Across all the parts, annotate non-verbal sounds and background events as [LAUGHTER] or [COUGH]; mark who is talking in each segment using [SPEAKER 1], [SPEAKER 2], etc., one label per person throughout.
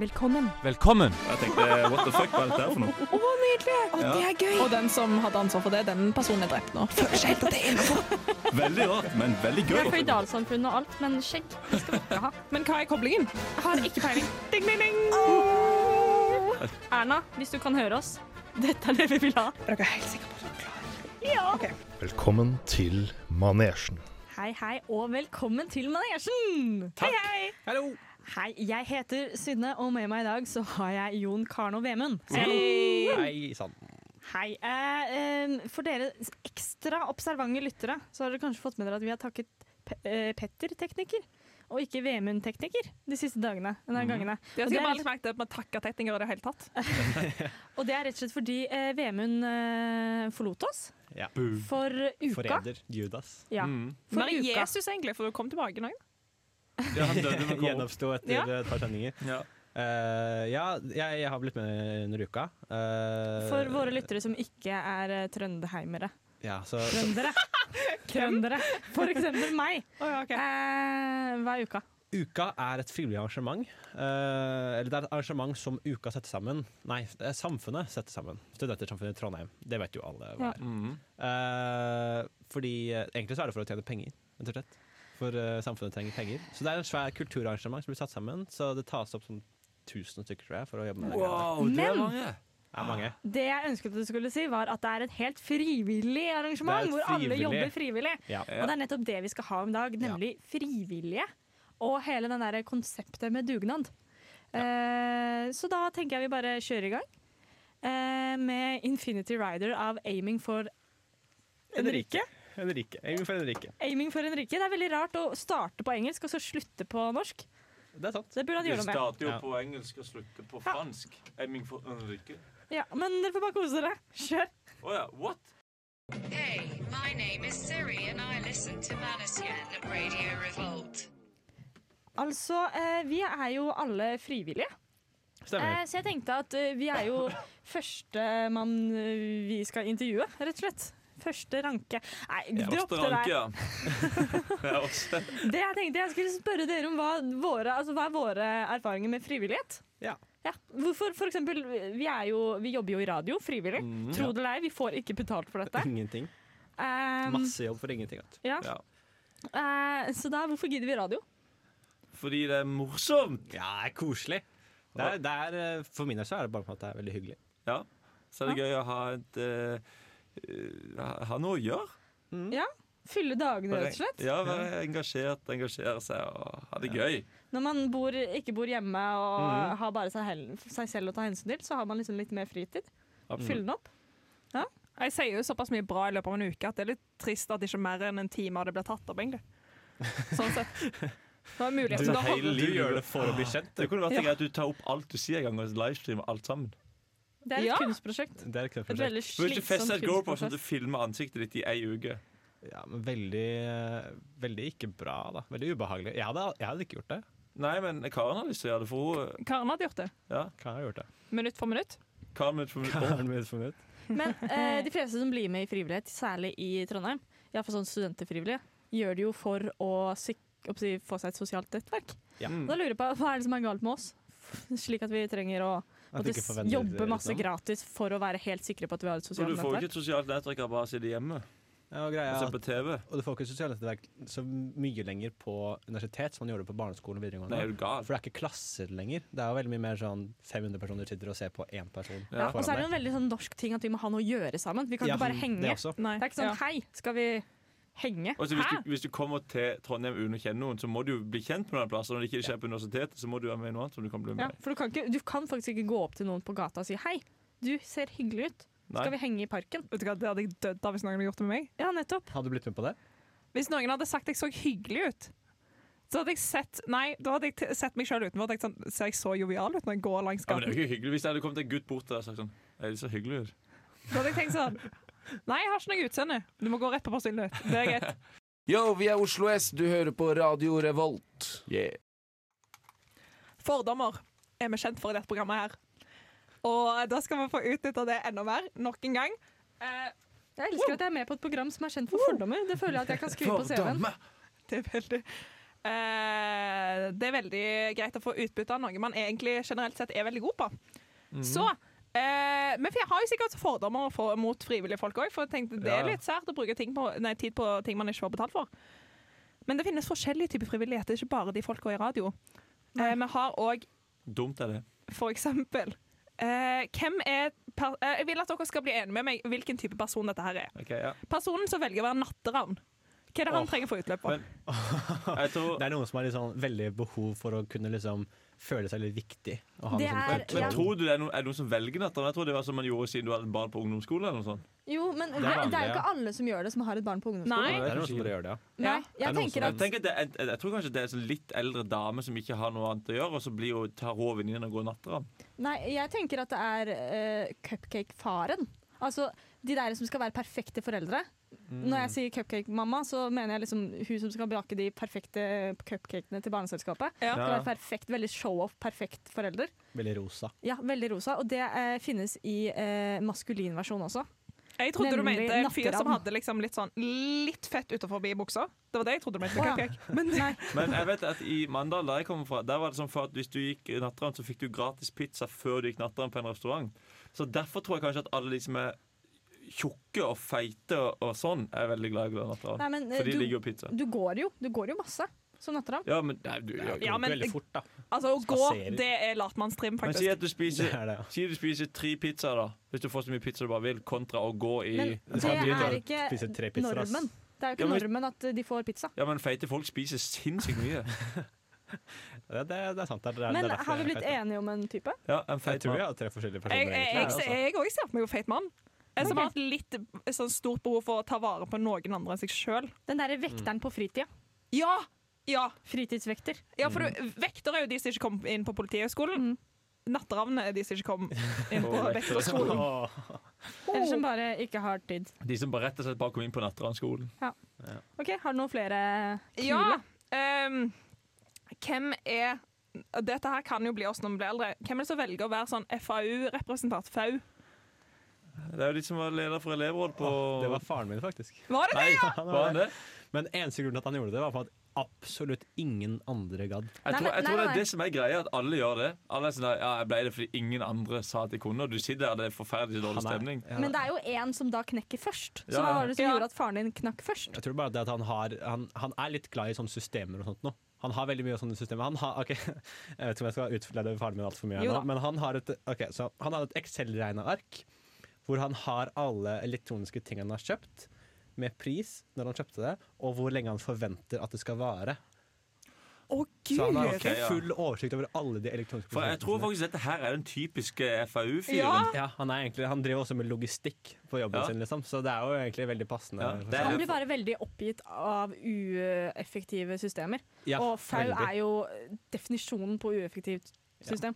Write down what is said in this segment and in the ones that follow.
[SPEAKER 1] Velkommen.
[SPEAKER 2] Velkommen!
[SPEAKER 3] Jeg tenkte what the fuck, hva er dette her for noe?
[SPEAKER 1] Å, nydelig! Å, Det er gøy.
[SPEAKER 4] Og den som hadde ansvar for det, den personen er [LAUGHS] drept nå.
[SPEAKER 3] Veldig rart, men veldig gøy.
[SPEAKER 5] Vi er føydalsamfunn og alt, men skjegg det skal vi ikke ha.
[SPEAKER 4] Men hva er koblingen?
[SPEAKER 5] Jeg har ikke peiling. Ding, ding, ding. Erna, hvis du kan høre oss, dette er det vi vil ha.
[SPEAKER 4] Er dere helt sikre på at dere klarer
[SPEAKER 6] Velkommen til manesjen.
[SPEAKER 5] Hei, hei, og velkommen til Manesjen! Takk. Hei, hei.
[SPEAKER 2] Hallo!
[SPEAKER 5] Hei, jeg heter Synne, og med meg i dag så har jeg Jon Karno Vemund.
[SPEAKER 2] Hei sann.
[SPEAKER 5] Hei. Eh, eh, for dere ekstra observante lyttere, så har dere kanskje fått med dere at vi har takket Pe eh, Petter tekniker, og ikke Vemund tekniker, de siste dagene. Denne gangene.
[SPEAKER 4] Det
[SPEAKER 5] Og det
[SPEAKER 4] skal
[SPEAKER 5] er-
[SPEAKER 4] jeg bare merke til at man takker teknikere i det hele tatt.
[SPEAKER 5] Og det er rett og slett fordi eh, Vemund eh, forlot oss
[SPEAKER 7] Ja.
[SPEAKER 5] for uka.
[SPEAKER 7] Forræder. Mm. Judas.
[SPEAKER 5] Ja.
[SPEAKER 4] Hvor er
[SPEAKER 5] For uka.
[SPEAKER 4] Jesus egentlig? For du kom tilbake nå.
[SPEAKER 2] Ja, han døde
[SPEAKER 7] [LAUGHS]
[SPEAKER 2] med korona.
[SPEAKER 7] Gjenoppsto etter
[SPEAKER 4] Ja.
[SPEAKER 7] eh, et par sendinger.
[SPEAKER 3] Ja.
[SPEAKER 7] Eh, ja, jeg, jeg har blitt med under uka. Eh,
[SPEAKER 5] For våre lyttere som ikke er eh, trønderheimere.
[SPEAKER 7] Ja, så, så [LAUGHS]
[SPEAKER 5] Trøndere. Trøndere. For eksempel meg. Eh, hva er uka?
[SPEAKER 7] uka er et frivillig arrangement. eh, eller det er et arrangement som uka setter sammen. Nei, det er samfunnet setter sammen. Studentersamfunnet i Trondheim. Det vet jo alle
[SPEAKER 5] Ja.
[SPEAKER 7] hva er. Eh, fordi eh, egentlig så er det for å tjene penger, rett og slett. For eh, samfunnet trenger penger. Så det er en svær kulturarrangement som blir satt sammen. Så det tas opp som 1000 stykker, tror jeg, for å jobbe med det. greiene der.
[SPEAKER 2] Wow, det er
[SPEAKER 5] Men-
[SPEAKER 2] mange!
[SPEAKER 7] Det er mange.
[SPEAKER 5] Det jeg ønsket du skulle si, var at det er et helt frivillig
[SPEAKER 7] Det
[SPEAKER 5] arrangement.
[SPEAKER 7] er
[SPEAKER 5] Hvor alle
[SPEAKER 7] frivillig.
[SPEAKER 5] jobber frivillig.
[SPEAKER 7] Ja.
[SPEAKER 5] Og det er nettopp det vi skal ha om dag, nemlig frivillige. Og hele den der konseptet med dugnad. Eh, så da tenker jeg vi bare kjører i gang eh, med Infinity Rider av Aiming for Enrique.
[SPEAKER 7] Henrike. Aiming for Henrike.
[SPEAKER 5] Aiming for Enrique. Det er veldig rart å starte på engelsk og så slutte på norsk.
[SPEAKER 7] Det er sant.
[SPEAKER 5] Så det burde han
[SPEAKER 8] Du
[SPEAKER 5] gjøre noe med.
[SPEAKER 8] starter jo
[SPEAKER 7] Ja.
[SPEAKER 8] på engelsk og slutter på fransk. Aiming for Ulrikke.
[SPEAKER 5] Ja, men dere får bare kose dere. Kjør.
[SPEAKER 8] Å ja, what?
[SPEAKER 9] Hey, my name is Siri and I listen to Manasian Radio Revolt.
[SPEAKER 5] Altså, eh, vi er jo alle frivillige. Eh,
[SPEAKER 7] Stemmer.
[SPEAKER 5] så jeg tenkte at eh, vi er jo førstemann eh, vi skal intervjue, rett og slett. Første ranke. Nei, dropp det der.
[SPEAKER 8] ja. Ja, [LAUGHS] også.
[SPEAKER 5] Det jeg tenkte jeg skulle spørre dere om, hva, våre, altså, hva er våre erfaringer med frivillighet?
[SPEAKER 7] Ja.
[SPEAKER 5] Hvorfor for eksempel, vi, er jo, vi jobber jo i radio frivillig. Tro det eller ei, vi får ikke betalt for
[SPEAKER 7] [LAUGHS]
[SPEAKER 5] dette.
[SPEAKER 7] Ingenting.
[SPEAKER 5] Ehm,
[SPEAKER 7] Masse jobb for ingenting. vet du.
[SPEAKER 5] ja.
[SPEAKER 8] Ja.
[SPEAKER 5] Eh, så da, hvorfor gidder vi radio?
[SPEAKER 8] Fordi det er morsomt.
[SPEAKER 7] Ja, det er koselig. Det er, det er, eh, for min del så er det bare på en måte veldig hyggelig.
[SPEAKER 8] Ja. Så er det gøy å ha et eh, eh, Ha noe å gjøre.
[SPEAKER 5] Fylle dagene, rett og slett.
[SPEAKER 8] Ja, Være engasjert, engasjere seg og ha det gøy.
[SPEAKER 5] Når man bor, ikke bor hjemme og har bare seg, hel- seg selv å ta hensyn til, så har man liksom litt mer fritid.
[SPEAKER 7] Mm.
[SPEAKER 5] Fylle den opp.
[SPEAKER 4] Jeg sier jo såpass mye bra i løpet av en uke at det er litt trist at ikke mer enn en time av det blir tatt opp, [LAUGHS] egentlig. Sånn sett. Det var mulig.
[SPEAKER 8] Du-
[SPEAKER 4] Så da hold-
[SPEAKER 8] hele livet.
[SPEAKER 7] for å bli kjent.
[SPEAKER 8] Det kunne vært
[SPEAKER 4] Ja.
[SPEAKER 8] greit at du tar opp alt du sier, en gang og livestreamer alt sammen.
[SPEAKER 5] Det er et
[SPEAKER 4] Ja.
[SPEAKER 5] kunstprosjekt.
[SPEAKER 7] Ah, Det er
[SPEAKER 5] Et
[SPEAKER 7] et kunstprosjekt.
[SPEAKER 5] veldig
[SPEAKER 8] Burde ikke feste
[SPEAKER 5] slitsomt
[SPEAKER 8] et GoPro sånn at du
[SPEAKER 5] kunstprosjekt.
[SPEAKER 8] filmer ansiktet ditt i ei uke.
[SPEAKER 7] Ja, men veldig, eh, veldig ikke bra, da. Veldig ubehagelig. Jeg hadde, jeg hadde ikke gjort det.
[SPEAKER 8] Nei, men Karen har lyst til å gjøre det, for hun eh,
[SPEAKER 4] Karen hadde gjort det.
[SPEAKER 8] ja.
[SPEAKER 7] Kan jeg ha gjort det?
[SPEAKER 4] Minutt for minutt.
[SPEAKER 8] Karen vil for
[SPEAKER 7] Har du minutt for minutt?
[SPEAKER 5] Men eh, de fleste som blir med i frivillighet, særlig i Trondheim, iallfall sånn studentfrivillige, gjør det jo for å sik opp si, få seg et sosialt nettverk.
[SPEAKER 7] Ja.
[SPEAKER 8] mm.
[SPEAKER 5] Og Da lurer jeg på hva er det som er galt med oss, slik at vi trenger å
[SPEAKER 7] At du
[SPEAKER 5] måtte
[SPEAKER 7] ikke liksom? får venner
[SPEAKER 5] jobbe
[SPEAKER 7] utenom.
[SPEAKER 5] masse gratis for å være helt sikre på at vi har et
[SPEAKER 8] Så
[SPEAKER 5] sosialt
[SPEAKER 8] du får
[SPEAKER 5] nettverk.
[SPEAKER 8] ikke et sosialt nettverk av bare å sitte hjemme
[SPEAKER 7] Ja, og, greia
[SPEAKER 8] og
[SPEAKER 7] er
[SPEAKER 8] se på
[SPEAKER 7] at,
[SPEAKER 8] TV?
[SPEAKER 7] og du får ikke sosiale nettverk så mye lenger på universitet som man gjorde på barneskolen og
[SPEAKER 8] Nei, er
[SPEAKER 7] videregående.
[SPEAKER 8] du gal?
[SPEAKER 7] For det er ikke klasser lenger. Det er jo veldig mye mer sånn 500 personer sitter og ser på én person.
[SPEAKER 5] Ja, og
[SPEAKER 7] foran
[SPEAKER 5] så er det
[SPEAKER 7] deg.
[SPEAKER 5] jo en veldig sånn norsk ting at vi må ha noe å gjøre sammen. Vi kan
[SPEAKER 7] Ja, mm,
[SPEAKER 5] ikke bare henge. Det,
[SPEAKER 7] Det også.
[SPEAKER 4] Nei.
[SPEAKER 5] er ikke sånn
[SPEAKER 4] Ja.
[SPEAKER 5] hei, skal vi henge?
[SPEAKER 8] Altså, hvis, du, hvis du kommer til Trondheim uten å kjenne noen, så må du jo bli kjent med noen plasser. Når det ikke skjer på universitetet, så må du være med i noe annet som du kan bli med
[SPEAKER 5] Ja,
[SPEAKER 8] i.
[SPEAKER 5] for du kan, ikke, du kan faktisk ikke gå opp til noen på gata og si hei, du ser hyggelig ut.
[SPEAKER 8] Nei.
[SPEAKER 5] Skal vi henge i parken?
[SPEAKER 4] Vet du hva, Det hadde jeg dødd av hvis noen hadde gjort det med meg.
[SPEAKER 5] Ja, nettopp.
[SPEAKER 7] Hadde du blitt med på det?
[SPEAKER 4] Hvis noen hadde sagt jeg så hyggelig ut, så hadde jeg sett Nei, da hadde jeg t- sett meg sjøl utenfor og tenkt sånn Ser jeg så jovial ut når jeg går langs
[SPEAKER 8] Ja, men det
[SPEAKER 4] gaten?
[SPEAKER 8] er jo ikke hyggelig Hvis det hadde kommet en gutt bort til deg og sagt sånn Er det så hyggelig ut?
[SPEAKER 4] Da hadde jeg tenkt sånn Nei, jeg har ikke noe utseende. Du må gå rett på personlighet. Det er greit.
[SPEAKER 10] Yo, vi er Oslo S, du hører på Radio Revolt.
[SPEAKER 8] Yeah.
[SPEAKER 4] [LAUGHS] Fordommer er vi kjent for i dette programmet her. Og da skal vi få utnytta det enda mer, nok en gang. Eh,
[SPEAKER 5] Jeg elsker at jeg er med på et program som er kjent for fordommer. Det føler jeg at jeg kan skrive på CV-en.
[SPEAKER 4] det er veldig Eh, det er veldig greit å få utbytte av noe man egentlig generelt sett er veldig god på. Så eh, Men for jeg har jo sikkert fordommer for, mot frivillige folk òg, for jeg tenkte det
[SPEAKER 8] Ja.
[SPEAKER 4] er litt sært å bruke ting på, nei, tid på ting man ikke får betalt for. Men det finnes forskjellige typer frivillighet, det er ikke bare de folka i radio. Eh, vi har òg
[SPEAKER 8] [LAUGHS] Dumt er det.
[SPEAKER 4] for eksempel eh, Hvem er per eh, Jeg vil at dere skal bli enige med meg hvilken type person dette her er.
[SPEAKER 8] Ok, ja.
[SPEAKER 4] Personen som velger å være natteravn. Hva er det han
[SPEAKER 7] Åh,
[SPEAKER 4] trenger for utløp for?
[SPEAKER 7] men-
[SPEAKER 8] Jeg tror,
[SPEAKER 7] [LAUGHS] Det er noen som har litt sånn veldig behov for å kunne liksom føle seg litt viktig. Og ha
[SPEAKER 5] Det
[SPEAKER 7] noe sånn
[SPEAKER 5] er-
[SPEAKER 8] men
[SPEAKER 7] kontroll.
[SPEAKER 5] ja.
[SPEAKER 8] tror du det er noen, er det noen som velger natteren? Jeg tror det var som man gjorde siden du hadde barn på ungdomsskole. eller noe sånt.
[SPEAKER 5] Jo, men
[SPEAKER 7] er
[SPEAKER 5] det er
[SPEAKER 7] vanlig,
[SPEAKER 5] jo
[SPEAKER 7] ja.
[SPEAKER 5] ikke alle som gjør det, som har et barn på ungdomsskolen.
[SPEAKER 4] Nei.
[SPEAKER 7] Det er noen som bare gjør det, ja.
[SPEAKER 5] Nei,
[SPEAKER 4] Ja.
[SPEAKER 5] jeg
[SPEAKER 7] Det er noen
[SPEAKER 5] tenker
[SPEAKER 7] som-
[SPEAKER 8] Jeg,
[SPEAKER 5] at
[SPEAKER 8] tenker at det, er- jeg, jeg tror kanskje det er en sånn litt eldre dame som ikke har noe annet å gjøre, og så blir jo, tar hun venninnen og går natteravn.
[SPEAKER 5] Nei, jeg tenker at det er eh, cupcake-faren. Altså de der som skal være perfekte foreldre.
[SPEAKER 7] Mm.
[SPEAKER 5] Når jeg sier cupcake-mamma, så mener jeg liksom hun som skal bake de perfekte cupcakene til barneselskapet.
[SPEAKER 4] Ja.
[SPEAKER 5] Skal
[SPEAKER 8] Ja.
[SPEAKER 5] være perfekt, veldig show-off, perfekt forelder.
[SPEAKER 7] Veldig rosa.
[SPEAKER 5] Ja, veldig rosa. Og det eh, finnes i eh, maskulin versjon
[SPEAKER 7] [LAUGHS]
[SPEAKER 5] også.
[SPEAKER 4] Jeg trodde du
[SPEAKER 5] Nemlig
[SPEAKER 4] mente en fyr som
[SPEAKER 5] natteravn.
[SPEAKER 4] hadde liksom litt, sånn, litt fett utenfor buksa. Det var det jeg trodde du mente. med
[SPEAKER 5] Å, ja.
[SPEAKER 4] cupcake. Men
[SPEAKER 5] Nei.
[SPEAKER 8] Men jeg vet at i Mandal, der jeg kommer fra, der var det sånn for at hvis du gikk natteravn, så fikk du gratis pizza før du gikk natteravn på en restaurant. Så derfor tror jeg kanskje at alle de som er tjukke og feite og, og sånn, er veldig glad i å gå natteravn.
[SPEAKER 5] Nei, men eh,
[SPEAKER 8] For de
[SPEAKER 5] du,
[SPEAKER 8] ligger jo pizza.
[SPEAKER 5] du går jo. Du går jo masse som natteravn.
[SPEAKER 8] Ja, men nei, du, ja,
[SPEAKER 4] Ja,
[SPEAKER 7] Går
[SPEAKER 4] men-
[SPEAKER 7] ikke veldig fort, da.
[SPEAKER 4] altså, å gå,
[SPEAKER 7] Spaserer.
[SPEAKER 4] det er latmannstrim,
[SPEAKER 8] Men si
[SPEAKER 4] faktisk.
[SPEAKER 8] at du
[SPEAKER 7] Det
[SPEAKER 8] spiser
[SPEAKER 7] er det, ja.
[SPEAKER 8] Si du spiser tre pizzaer, da. Hvis du får så mye pizza du bare vil, kontra å gå i
[SPEAKER 5] Men det
[SPEAKER 7] Ja, de
[SPEAKER 5] er
[SPEAKER 7] tar-
[SPEAKER 5] ikke
[SPEAKER 7] spiser tre pizzaer, ass.
[SPEAKER 5] normen. Det er jo
[SPEAKER 8] Ja,
[SPEAKER 5] ikke
[SPEAKER 8] men-
[SPEAKER 5] normen at eh, de får pizza.
[SPEAKER 8] Ja, men feite folk spiser sinnssykt mye.
[SPEAKER 7] Det, det, det er sant. Det er, det
[SPEAKER 5] Men
[SPEAKER 7] er derfor
[SPEAKER 5] har vi
[SPEAKER 7] jeg er
[SPEAKER 5] blitt
[SPEAKER 7] feit.
[SPEAKER 5] enige om en type?
[SPEAKER 8] Ja, en
[SPEAKER 7] Jeg
[SPEAKER 8] feit
[SPEAKER 7] tror jeg
[SPEAKER 8] mann.
[SPEAKER 7] har tre forskjellige
[SPEAKER 4] Jeg-
[SPEAKER 7] personer.
[SPEAKER 4] jeg-
[SPEAKER 7] egentlig. altså.
[SPEAKER 4] Jeg òg ser på meg jo feit mann. Jeg
[SPEAKER 5] Ok.
[SPEAKER 4] som har hatt litt eh, sånn stort behov for å ta vare på noen andre enn seg sjøl.
[SPEAKER 5] Den derre
[SPEAKER 7] Mm.
[SPEAKER 5] vekteren på fritida.
[SPEAKER 4] Ja! Ja,
[SPEAKER 5] Fritidsvekter.
[SPEAKER 4] ja for du, Mm. vektere er jo de som ikke kom inn på Politihøgskolen. Natteravnene er de som ikke kom inn på
[SPEAKER 8] Å,
[SPEAKER 4] vekterskolen.
[SPEAKER 7] Åh.
[SPEAKER 5] Eller som bare ikke har tid.
[SPEAKER 8] [LAUGHS] De som bare rett og slett bare kom inn på natteravnskolen.
[SPEAKER 5] Ok, Har du noen flere kule?
[SPEAKER 4] Ja. ehm, hvem er Dette her kan jo bli oss når vi blir eldre. Hvem er det som velger å være sånn FAU-representant? FAU?
[SPEAKER 8] Det er jo de som var leder for elevråd på
[SPEAKER 7] Det var faren min, faktisk.
[SPEAKER 4] Var det det?
[SPEAKER 8] Nei,
[SPEAKER 7] [LAUGHS] Han
[SPEAKER 8] var han det?
[SPEAKER 7] Men eneste grunnen til at han gjorde det, var for at absolutt ingen andre gadd.
[SPEAKER 5] Nei,
[SPEAKER 8] Jeg tror,
[SPEAKER 5] men-
[SPEAKER 8] jeg
[SPEAKER 5] nei,
[SPEAKER 8] tror det
[SPEAKER 5] nei.
[SPEAKER 8] er det som er greia, at alle gjør det. Alle er sånn der, ja, jeg ble det fordi ingen andre sa at de kunne, og du sitter der, det er forferdelig dårlig
[SPEAKER 7] Han er-
[SPEAKER 8] stemning.
[SPEAKER 7] ja.
[SPEAKER 5] Men det er jo én som da knekker først. Så
[SPEAKER 8] Ja.
[SPEAKER 5] hva var det som
[SPEAKER 4] Ja.
[SPEAKER 5] gjorde at faren din knakk først?
[SPEAKER 7] Jeg tror bare det at han har Han, han er litt glad i sånne systemer og sånt nå. Han har veldig mye sånne systemer. Han har, ok, [LAUGHS] jeg vet ikke om jeg skal utlede faren min alt for mye, her
[SPEAKER 4] Jo
[SPEAKER 7] nå,
[SPEAKER 4] da.
[SPEAKER 7] men han har et, ok, så han har et Excel-regna ark hvor han har alle elektroniske ting han har kjøpt, med pris når han kjøpte det, og hvor lenge han forventer at det skal vare.
[SPEAKER 4] Å, gud!
[SPEAKER 7] Så han har
[SPEAKER 8] Ok, ja.
[SPEAKER 7] full oversikt over alle de elektroniske
[SPEAKER 8] For jeg tror
[SPEAKER 7] produktene.
[SPEAKER 8] faktisk dette her er den typiske FAU-fyren.
[SPEAKER 4] Ja.
[SPEAKER 7] ja, han, er egentlig, han driver også med logistikk på jobben
[SPEAKER 8] Ja.
[SPEAKER 7] sin, liksom, så det er jo egentlig veldig passende.
[SPEAKER 8] Ja, det er-
[SPEAKER 5] Han blir bare veldig oppgitt av ueffektive systemer.
[SPEAKER 7] Ja,
[SPEAKER 5] Og FAU
[SPEAKER 7] veldig.
[SPEAKER 5] er jo definisjonen på ueffektivt system.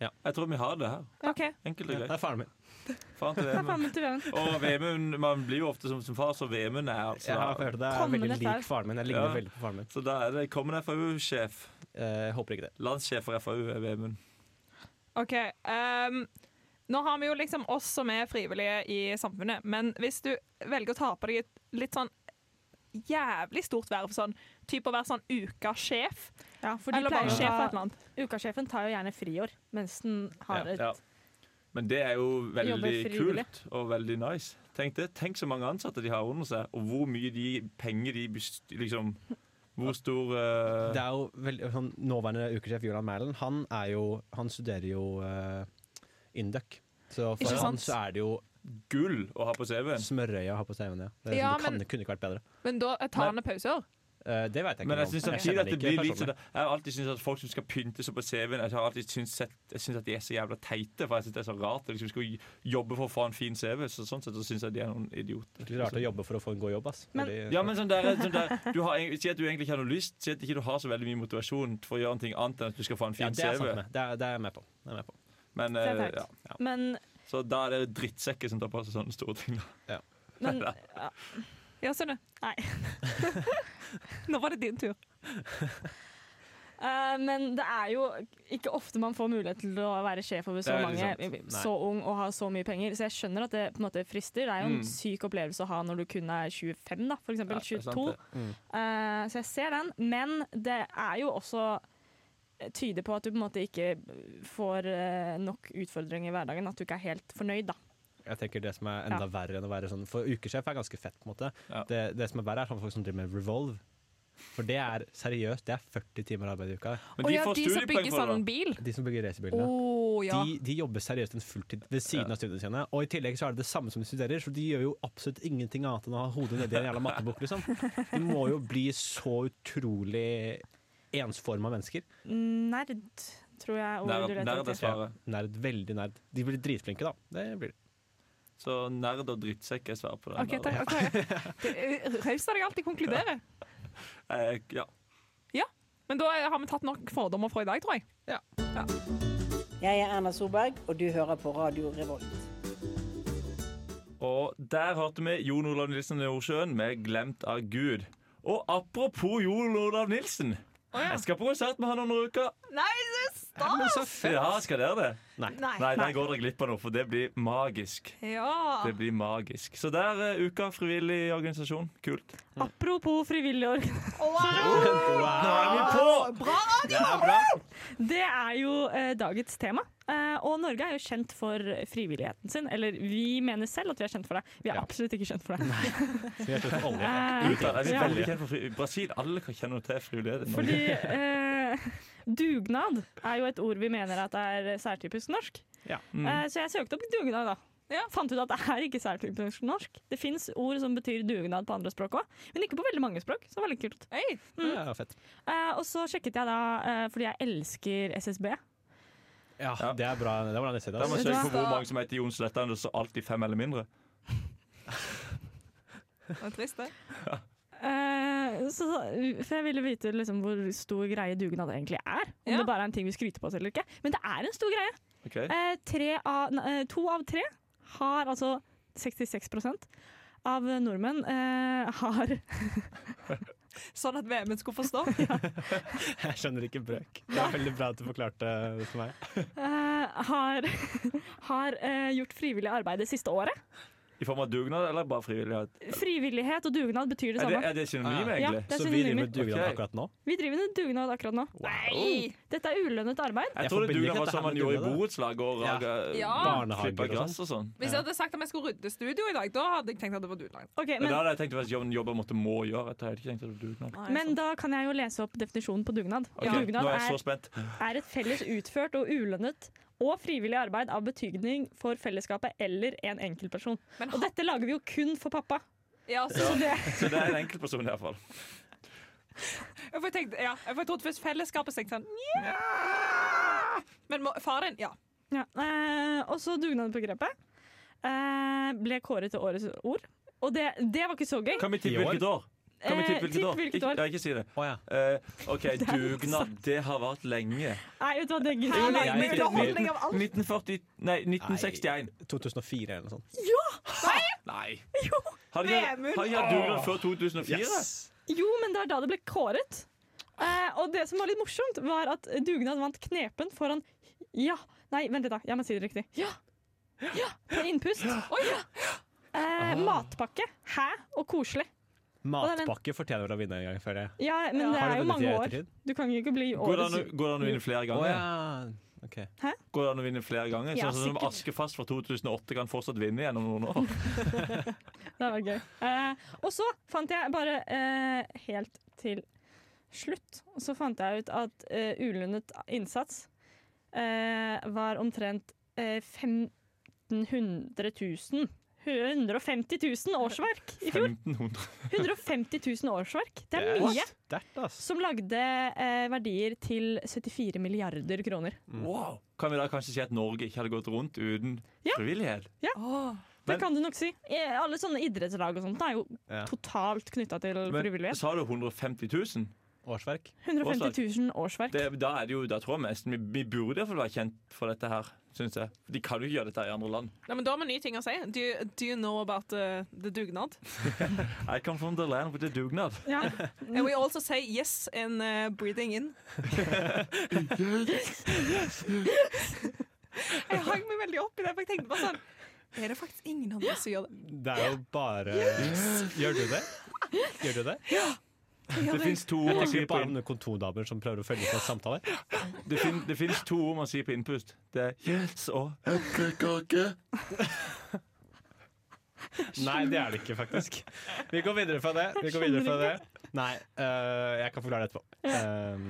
[SPEAKER 8] Jeg tror vi har det her.
[SPEAKER 4] Ok.
[SPEAKER 8] Enkelt
[SPEAKER 7] Ja,
[SPEAKER 8] og
[SPEAKER 7] det
[SPEAKER 8] greit.
[SPEAKER 7] er faren min.
[SPEAKER 8] Faen til
[SPEAKER 5] Hva [LAUGHS]
[SPEAKER 8] Vemund.
[SPEAKER 5] faen mente du med den?
[SPEAKER 8] Og Vemund, man blir jo ofte som, som far, så Vemund er altså
[SPEAKER 7] Jeg har hørt det er
[SPEAKER 5] Kommende
[SPEAKER 7] veldig
[SPEAKER 5] FAU.
[SPEAKER 7] lik faren min. Jeg ligner
[SPEAKER 8] Ja.
[SPEAKER 7] veldig på faren min.
[SPEAKER 8] Så da er det kommende FAU-sjef.
[SPEAKER 7] Eh, jeg håper ikke det.
[SPEAKER 8] Landssjef for FAU er Vemund.
[SPEAKER 4] ok ehm, nå har vi jo liksom oss som er frivillige i samfunnet, men hvis du velger å ta på deg et litt sånn jævlig stort verv, sånn type å være sånn ukasjef,
[SPEAKER 5] Ja, for de
[SPEAKER 4] eller bare
[SPEAKER 5] pleier
[SPEAKER 4] sjef eller et
[SPEAKER 5] å
[SPEAKER 4] eller annet.
[SPEAKER 5] ta Ukasjefen tar jo gjerne friår mens den har et
[SPEAKER 8] Ja. Men det er jo veldig
[SPEAKER 5] Jobber frivillig.
[SPEAKER 8] kult og veldig nice. Tenk det, tenk så mange ansatte de har under seg, og hvor mye de penger de best- liksom Hvor stor eh,
[SPEAKER 7] Det er jo veldig, sånn, Nåværende ukesjef Julian Mæhlen, han, er jo- han studerer jo uh, Induc. Så for
[SPEAKER 4] Ikke
[SPEAKER 7] han
[SPEAKER 4] sant?
[SPEAKER 7] så er det jo
[SPEAKER 8] gull å ha på CV-en.
[SPEAKER 7] smørøye å ha på CV-en. Ja. Det er
[SPEAKER 4] Ja,
[SPEAKER 7] sånn, det kan,
[SPEAKER 4] men-
[SPEAKER 7] kunne ikke vært bedre.
[SPEAKER 4] Men da tar han pauser.
[SPEAKER 7] Eh, det vet jeg ikke.
[SPEAKER 8] Men jeg
[SPEAKER 7] noe om.
[SPEAKER 8] synes
[SPEAKER 7] Jeg
[SPEAKER 8] samtidig
[SPEAKER 7] kjenner
[SPEAKER 8] at det
[SPEAKER 7] ikke
[SPEAKER 8] blir litt sånn
[SPEAKER 7] personlig.
[SPEAKER 8] Jeg har alltid syntes at folk som skal pynte seg på CV-en Jeg har alltid syntes at, jeg synes at de er så jævla teite, for jeg synes det er så rart. Jeg liksom skulle jobbe for å få en fin CV, så sånn sett så synes jeg de er noen idioter.
[SPEAKER 7] Det er rart å jobbe for å få en god jobb, ass.
[SPEAKER 5] Men-
[SPEAKER 7] Fordi-
[SPEAKER 8] Ja, men sånn der, sånn der du har, eng- Si at du egentlig ikke har noe lyst, si at ikke du har så veldig mye motivasjon for å gjøre noe annet enn at du skal få en
[SPEAKER 7] Ja,
[SPEAKER 8] fin
[SPEAKER 7] det er jeg sant
[SPEAKER 8] CV.
[SPEAKER 7] med. Det er, det er jeg med på. Det er jeg med på.
[SPEAKER 8] Men,
[SPEAKER 5] Det er
[SPEAKER 8] eh,
[SPEAKER 5] teit.
[SPEAKER 8] ja.
[SPEAKER 5] Men,
[SPEAKER 8] Så da er det drittsekker som tar på seg sånne store ting. da.
[SPEAKER 5] men
[SPEAKER 8] Nei,
[SPEAKER 5] ja.
[SPEAKER 4] [LAUGHS] Ja, Sunne?
[SPEAKER 5] Nei.
[SPEAKER 4] Nå var det din tur.
[SPEAKER 5] Eh, men det er jo ikke ofte man får mulighet til å være sjef over så
[SPEAKER 7] Det er
[SPEAKER 5] mange,
[SPEAKER 7] veldig sant. Nei.
[SPEAKER 5] så ung og ha så mye penger. Så jeg skjønner at det på en måte frister. Det er jo en
[SPEAKER 7] Mm.
[SPEAKER 5] syk opplevelse å ha når du kun er 25, da, for eksempel. 22.
[SPEAKER 7] Mm.
[SPEAKER 5] Eh, så jeg ser den, men det er jo også eh, tyder på at du på en måte ikke får eh, nok utfordringer i hverdagen. At du ikke er helt fornøyd, da.
[SPEAKER 7] Jeg tenker Det som er enda
[SPEAKER 5] Ja.
[SPEAKER 7] verre enn å være sånn For ukesjef er ganske fett. på en måte det, det som er verre, er sånn folk som driver med Revolve. For det er seriøst, det er 40 timer arbeid i uka.
[SPEAKER 8] Men de
[SPEAKER 4] ja,
[SPEAKER 8] får
[SPEAKER 4] de som
[SPEAKER 8] studiepoeng
[SPEAKER 4] bygger
[SPEAKER 8] for det,
[SPEAKER 4] sånn
[SPEAKER 8] da.
[SPEAKER 4] bil.
[SPEAKER 7] De som bygger racerbilene.
[SPEAKER 4] Oh, ja.
[SPEAKER 7] De, de jobber seriøst en fulltid ved siden av studiene sine. Og i tillegg så er det det samme som de studerer, så de gjør jo absolutt ingenting annet enn å ha hodet nedi en jævla mattebok, liksom. De må jo bli så utrolig ensforma mennesker.
[SPEAKER 5] Nerd, tror jeg. ordet
[SPEAKER 8] Nerd,
[SPEAKER 5] du leter
[SPEAKER 8] nerd
[SPEAKER 5] etter.
[SPEAKER 8] er svaret.
[SPEAKER 7] Nerd, veldig nerd. De blir dritflinke, da. Det blir de.
[SPEAKER 8] Så nerd og drittsekk er svaret på det.
[SPEAKER 4] OK, takk. ok. Det er Raust av deg alltid konkludere.
[SPEAKER 8] Eh, ja.
[SPEAKER 4] Men da har vi tatt nok fordommer fra i dag, tror jeg.
[SPEAKER 11] Jeg er Erna Solberg, og du hører på Radio Revolt.
[SPEAKER 8] Og der hørte vi Jon Olav Nilsen Nordsjøen med 'Glemt av Gud'. Og apropos Jon Olav Nilsen. Jeg skal på konsert med han om noen uker.
[SPEAKER 4] Nei,
[SPEAKER 7] Så
[SPEAKER 8] Ja, skal dere det?
[SPEAKER 7] Nei.
[SPEAKER 8] Nei, der går dere glipp av noe, for det blir magisk.
[SPEAKER 4] Ja.
[SPEAKER 8] Det blir magisk. Så der er uka frivillig organisasjon. Kult.
[SPEAKER 5] Apropos frivillig organ.
[SPEAKER 4] Ah,
[SPEAKER 8] Nå er vi på!
[SPEAKER 7] Det er bra.
[SPEAKER 5] Det er jo eh, dagens tema. Eh, og Norge er jo kjent for frivilligheten sin. Eller vi mener selv at vi er kjent for det. Vi er
[SPEAKER 7] Ja.
[SPEAKER 5] absolutt ikke kjent for det.
[SPEAKER 7] Vi er slutt på olje.
[SPEAKER 5] [LAUGHS] Eh,
[SPEAKER 8] Utad er vi
[SPEAKER 5] Ja.
[SPEAKER 8] veldig kjent for fri- Brasil. Alle kan kjenne til frivillighet. i Norge.
[SPEAKER 5] fordi eh, dugnad er jo et ord vi mener at er særtypisk norsk.
[SPEAKER 7] Ja.
[SPEAKER 8] Mm.
[SPEAKER 5] Eh, så jeg søkte opp dugnad, da. Fant ut at det er ikke særtypisk norsk. Det fins ord som betyr dugnad på andre språk òg, men ikke på veldig mange språk. Så det var litt kult.
[SPEAKER 7] Ja, fett.
[SPEAKER 5] Eh, og så sjekket jeg da, eh, fordi jeg elsker SSB.
[SPEAKER 7] Ja, det er bra. Det var bra nettside.
[SPEAKER 8] Da må
[SPEAKER 7] ass.
[SPEAKER 8] vi søke på hvor mange som heter Jon Sletland, og så alltid fem eller mindre.
[SPEAKER 4] Det er trist, det.
[SPEAKER 5] Eh, så, for jeg ville vite liksom, hvor stor greie dugnad egentlig er. Om
[SPEAKER 4] Ja.
[SPEAKER 5] det bare er en ting vi skryter på oss eller ikke. Men det er en stor greie.
[SPEAKER 8] Ok.
[SPEAKER 5] Eh, tre av, nei, eh, to av tre har altså 66 av nordmenn eh, har
[SPEAKER 4] Sånn at VM-en skulle forstå.
[SPEAKER 7] Jeg skjønner ikke brøk. Det er veldig bra at du forklarte det for meg.
[SPEAKER 5] eh, har, [LAUGHS] har eh, gjort frivillig arbeid det siste året.
[SPEAKER 8] I form av dugnad eller bare frivillighet?
[SPEAKER 5] Frivillighet og dugnad betyr det
[SPEAKER 8] Er det,
[SPEAKER 5] samme.
[SPEAKER 8] er det synonym,
[SPEAKER 7] Ja.
[SPEAKER 8] egentlig?
[SPEAKER 5] Det er
[SPEAKER 7] Så vi driver
[SPEAKER 5] synonymer.
[SPEAKER 7] med dugnad
[SPEAKER 8] Ok.
[SPEAKER 7] akkurat nå.
[SPEAKER 5] Vi driver med dugnad akkurat nå.
[SPEAKER 4] Nei!
[SPEAKER 5] Dette er ulønnet arbeid.
[SPEAKER 8] Jeg
[SPEAKER 7] Jeg
[SPEAKER 8] trodde dugnad
[SPEAKER 7] forbinder ikke
[SPEAKER 8] var
[SPEAKER 7] at
[SPEAKER 8] sånn
[SPEAKER 7] det her
[SPEAKER 8] man
[SPEAKER 7] med
[SPEAKER 8] gjorde i
[SPEAKER 7] dugnad, da.
[SPEAKER 8] borettslag og
[SPEAKER 7] Ja.
[SPEAKER 8] raga,
[SPEAKER 4] Ja.
[SPEAKER 8] klippa
[SPEAKER 7] Barnehager og
[SPEAKER 8] gress og sånn.
[SPEAKER 4] Hvis jeg hadde sagt at vi skulle rydde studio i dag, da hadde jeg tenkt at det var dugnad.
[SPEAKER 5] Ok,
[SPEAKER 8] Men
[SPEAKER 5] men,
[SPEAKER 8] da hadde jeg tenkt at jobben jobber måtte må gjøre. Jeg hadde ikke tenkt at det var dugnad.
[SPEAKER 5] men da kan jeg jo lese opp definisjonen på dugnad.
[SPEAKER 8] Ok,
[SPEAKER 5] Dugnad
[SPEAKER 8] Nå er
[SPEAKER 5] er-
[SPEAKER 8] jeg så spent.
[SPEAKER 5] er et felles utført og ulønnet og frivillig arbeid av betydning for fellesskapet eller en enkeltperson.
[SPEAKER 4] Men
[SPEAKER 5] Og dette lager vi jo kun for pappa.
[SPEAKER 4] Ja, så,
[SPEAKER 5] Så det,
[SPEAKER 8] Så det er en enkeltperson, i hvert fall.
[SPEAKER 4] jeg, får tenkt, ja, jeg får trodd først fellesskapet, så tenkte jeg sånn «Nja!» Men må- far din, ja.
[SPEAKER 5] ja. eh, og så dugnadbegrepet eh, ble kåret til årets ord. Og det, det var ikke så gøy.
[SPEAKER 8] Kan vi tippe
[SPEAKER 7] I år?
[SPEAKER 8] hvilket år? Kan vi
[SPEAKER 5] Eh,
[SPEAKER 8] tippe hvilket år?
[SPEAKER 5] hvilket
[SPEAKER 8] Ikke,
[SPEAKER 5] år.
[SPEAKER 8] ja, ikke si det.
[SPEAKER 7] Å ja.
[SPEAKER 8] Eh,
[SPEAKER 5] [LAUGHS]
[SPEAKER 8] OK, dugnad. Det har vart lenge.
[SPEAKER 5] Nei, vet du hva, det
[SPEAKER 4] Her
[SPEAKER 5] gidder
[SPEAKER 4] lager
[SPEAKER 5] jeg
[SPEAKER 4] vi
[SPEAKER 7] jeg-
[SPEAKER 4] underholdning av alt.
[SPEAKER 8] 1940 Nei, 1961.
[SPEAKER 7] 2004 eller noe sånt.
[SPEAKER 8] Nei. Har de hatt
[SPEAKER 4] Vemund.
[SPEAKER 8] har de hatt dugnad før 2004?
[SPEAKER 5] ikke. Jo, men det var da det ble kåret. Eh, og det som var litt morsomt, var at dugnad vant knepen foran Ja. Nei, vent litt, da. Jeg må si det riktig. Ja! Ja! På innpust. Oi, ja. Eh, matpakke. Hæ? Og koselig.
[SPEAKER 7] Matpakke fortjener vel å vinne en gang, føler jeg.
[SPEAKER 5] Ja, men det
[SPEAKER 7] Har
[SPEAKER 5] er
[SPEAKER 7] det
[SPEAKER 5] jo
[SPEAKER 7] vunnet i
[SPEAKER 5] mange år.
[SPEAKER 7] ettertid?
[SPEAKER 5] Du kan jo ikke bli
[SPEAKER 8] Går det, an,
[SPEAKER 5] årets
[SPEAKER 8] å- går det an å vinne flere
[SPEAKER 7] Å
[SPEAKER 8] ganger?
[SPEAKER 7] ja. Ok.
[SPEAKER 8] Går det an å vinne flere ganger?
[SPEAKER 5] Ja,
[SPEAKER 8] sånn som
[SPEAKER 5] sikkert.
[SPEAKER 8] Askefast fra 2008 kan fortsatt vinne gjennom noen år.
[SPEAKER 5] [LAUGHS]
[SPEAKER 8] [LAUGHS]
[SPEAKER 5] Det var gøy. Eh, og så fant jeg bare eh, helt til slutt Så fant jeg ut at eh, ulønnet innsats eh, var omtrent eh, 1500 000 150 000 årsverk i fjor!
[SPEAKER 8] 1500.
[SPEAKER 5] 150 000 årsverk. Det
[SPEAKER 7] Det
[SPEAKER 5] er
[SPEAKER 7] er
[SPEAKER 5] mye!
[SPEAKER 7] Sterkt, ass.
[SPEAKER 5] Som lagde eh, verdier til 74 milliarder kroner.
[SPEAKER 8] Wow. Kan vi da kanskje si at Norge ikke hadde gått rundt uten
[SPEAKER 5] Ja.
[SPEAKER 8] frivillighet?
[SPEAKER 5] Det
[SPEAKER 8] Men-
[SPEAKER 5] kan du nok si. Eh, Alle sånne idrettslag og sånt er jo
[SPEAKER 7] Ja.
[SPEAKER 5] totalt knytta til
[SPEAKER 8] Men
[SPEAKER 5] frivillighet.
[SPEAKER 8] sa du 150 000?
[SPEAKER 7] Årsverk?
[SPEAKER 5] 150 000 årsverk.
[SPEAKER 8] Det, da, er det jo, da tror jeg nesten vi, vi burde iallfall være kjent for dette her, syns jeg. De kan jo ikke gjøre dette her i andre land.
[SPEAKER 4] Nei, men Da har vi nye ting å si. Do you, do you know about uh, the dugnad?
[SPEAKER 8] I come from the land with the dugnad.
[SPEAKER 4] And we also say yes in uh, breathing in. Jeg hang meg veldig opp i det, for jeg tenkte bare sånn Er det faktisk ingen andre som gjør det?
[SPEAKER 7] Det er jo bare Gjør du det? Gjør du det? [LAUGHS]
[SPEAKER 8] Det fins to ord
[SPEAKER 7] Jeg
[SPEAKER 8] man
[SPEAKER 7] tenker
[SPEAKER 8] sier på
[SPEAKER 7] bare om
[SPEAKER 8] inn-
[SPEAKER 7] noen kontordamer som prøver å følge med på samtaler.
[SPEAKER 8] Det fin- det finnes to ord man sier på innpust. Det er yes og eplekake.
[SPEAKER 7] Nei, det er det ikke, faktisk. Vi går videre fra det. Vi går videre fra det. Nei, øh, jeg kan forklare det etterpå. Ehm,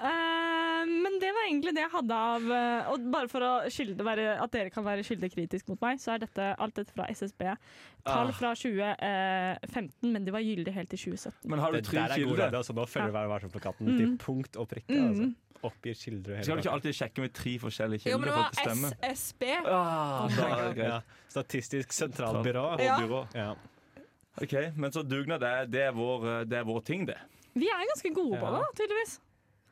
[SPEAKER 5] Eh, men det var egentlig det jeg hadde av eh, Og bare for å skylde, være, at dere kan være skyldekritiske mot meg, så er dette, alt dette fra SSB. Tall
[SPEAKER 7] Ah.
[SPEAKER 5] fra 2015, men de var gyldige helt til 2017.
[SPEAKER 8] Men har du
[SPEAKER 7] det
[SPEAKER 8] tre
[SPEAKER 7] der er god
[SPEAKER 8] kilder?
[SPEAKER 7] radio, altså. Nå følger Vær varsom-plakaten
[SPEAKER 5] Mm.
[SPEAKER 7] til punkt og prikke. Altså.
[SPEAKER 5] Mm.
[SPEAKER 7] Oppgir kilder og hele
[SPEAKER 8] Skal du ikke
[SPEAKER 7] pakka.
[SPEAKER 8] alltid sjekke med tre forskjellige
[SPEAKER 4] Jo,
[SPEAKER 8] kilder
[SPEAKER 4] men det
[SPEAKER 8] for at
[SPEAKER 4] var
[SPEAKER 8] det stemmer?
[SPEAKER 4] SSB.
[SPEAKER 8] Ah, da er det greit.
[SPEAKER 7] ja. Statistisk sentralbyrå.
[SPEAKER 4] Ja.
[SPEAKER 8] Og byrå.
[SPEAKER 7] Ja.
[SPEAKER 8] Ok, Men så dugnad, det er, det er, vår, eh, det er vår ting, det.
[SPEAKER 5] Vi er ganske gode på
[SPEAKER 8] Ja.
[SPEAKER 5] det, tydeligvis.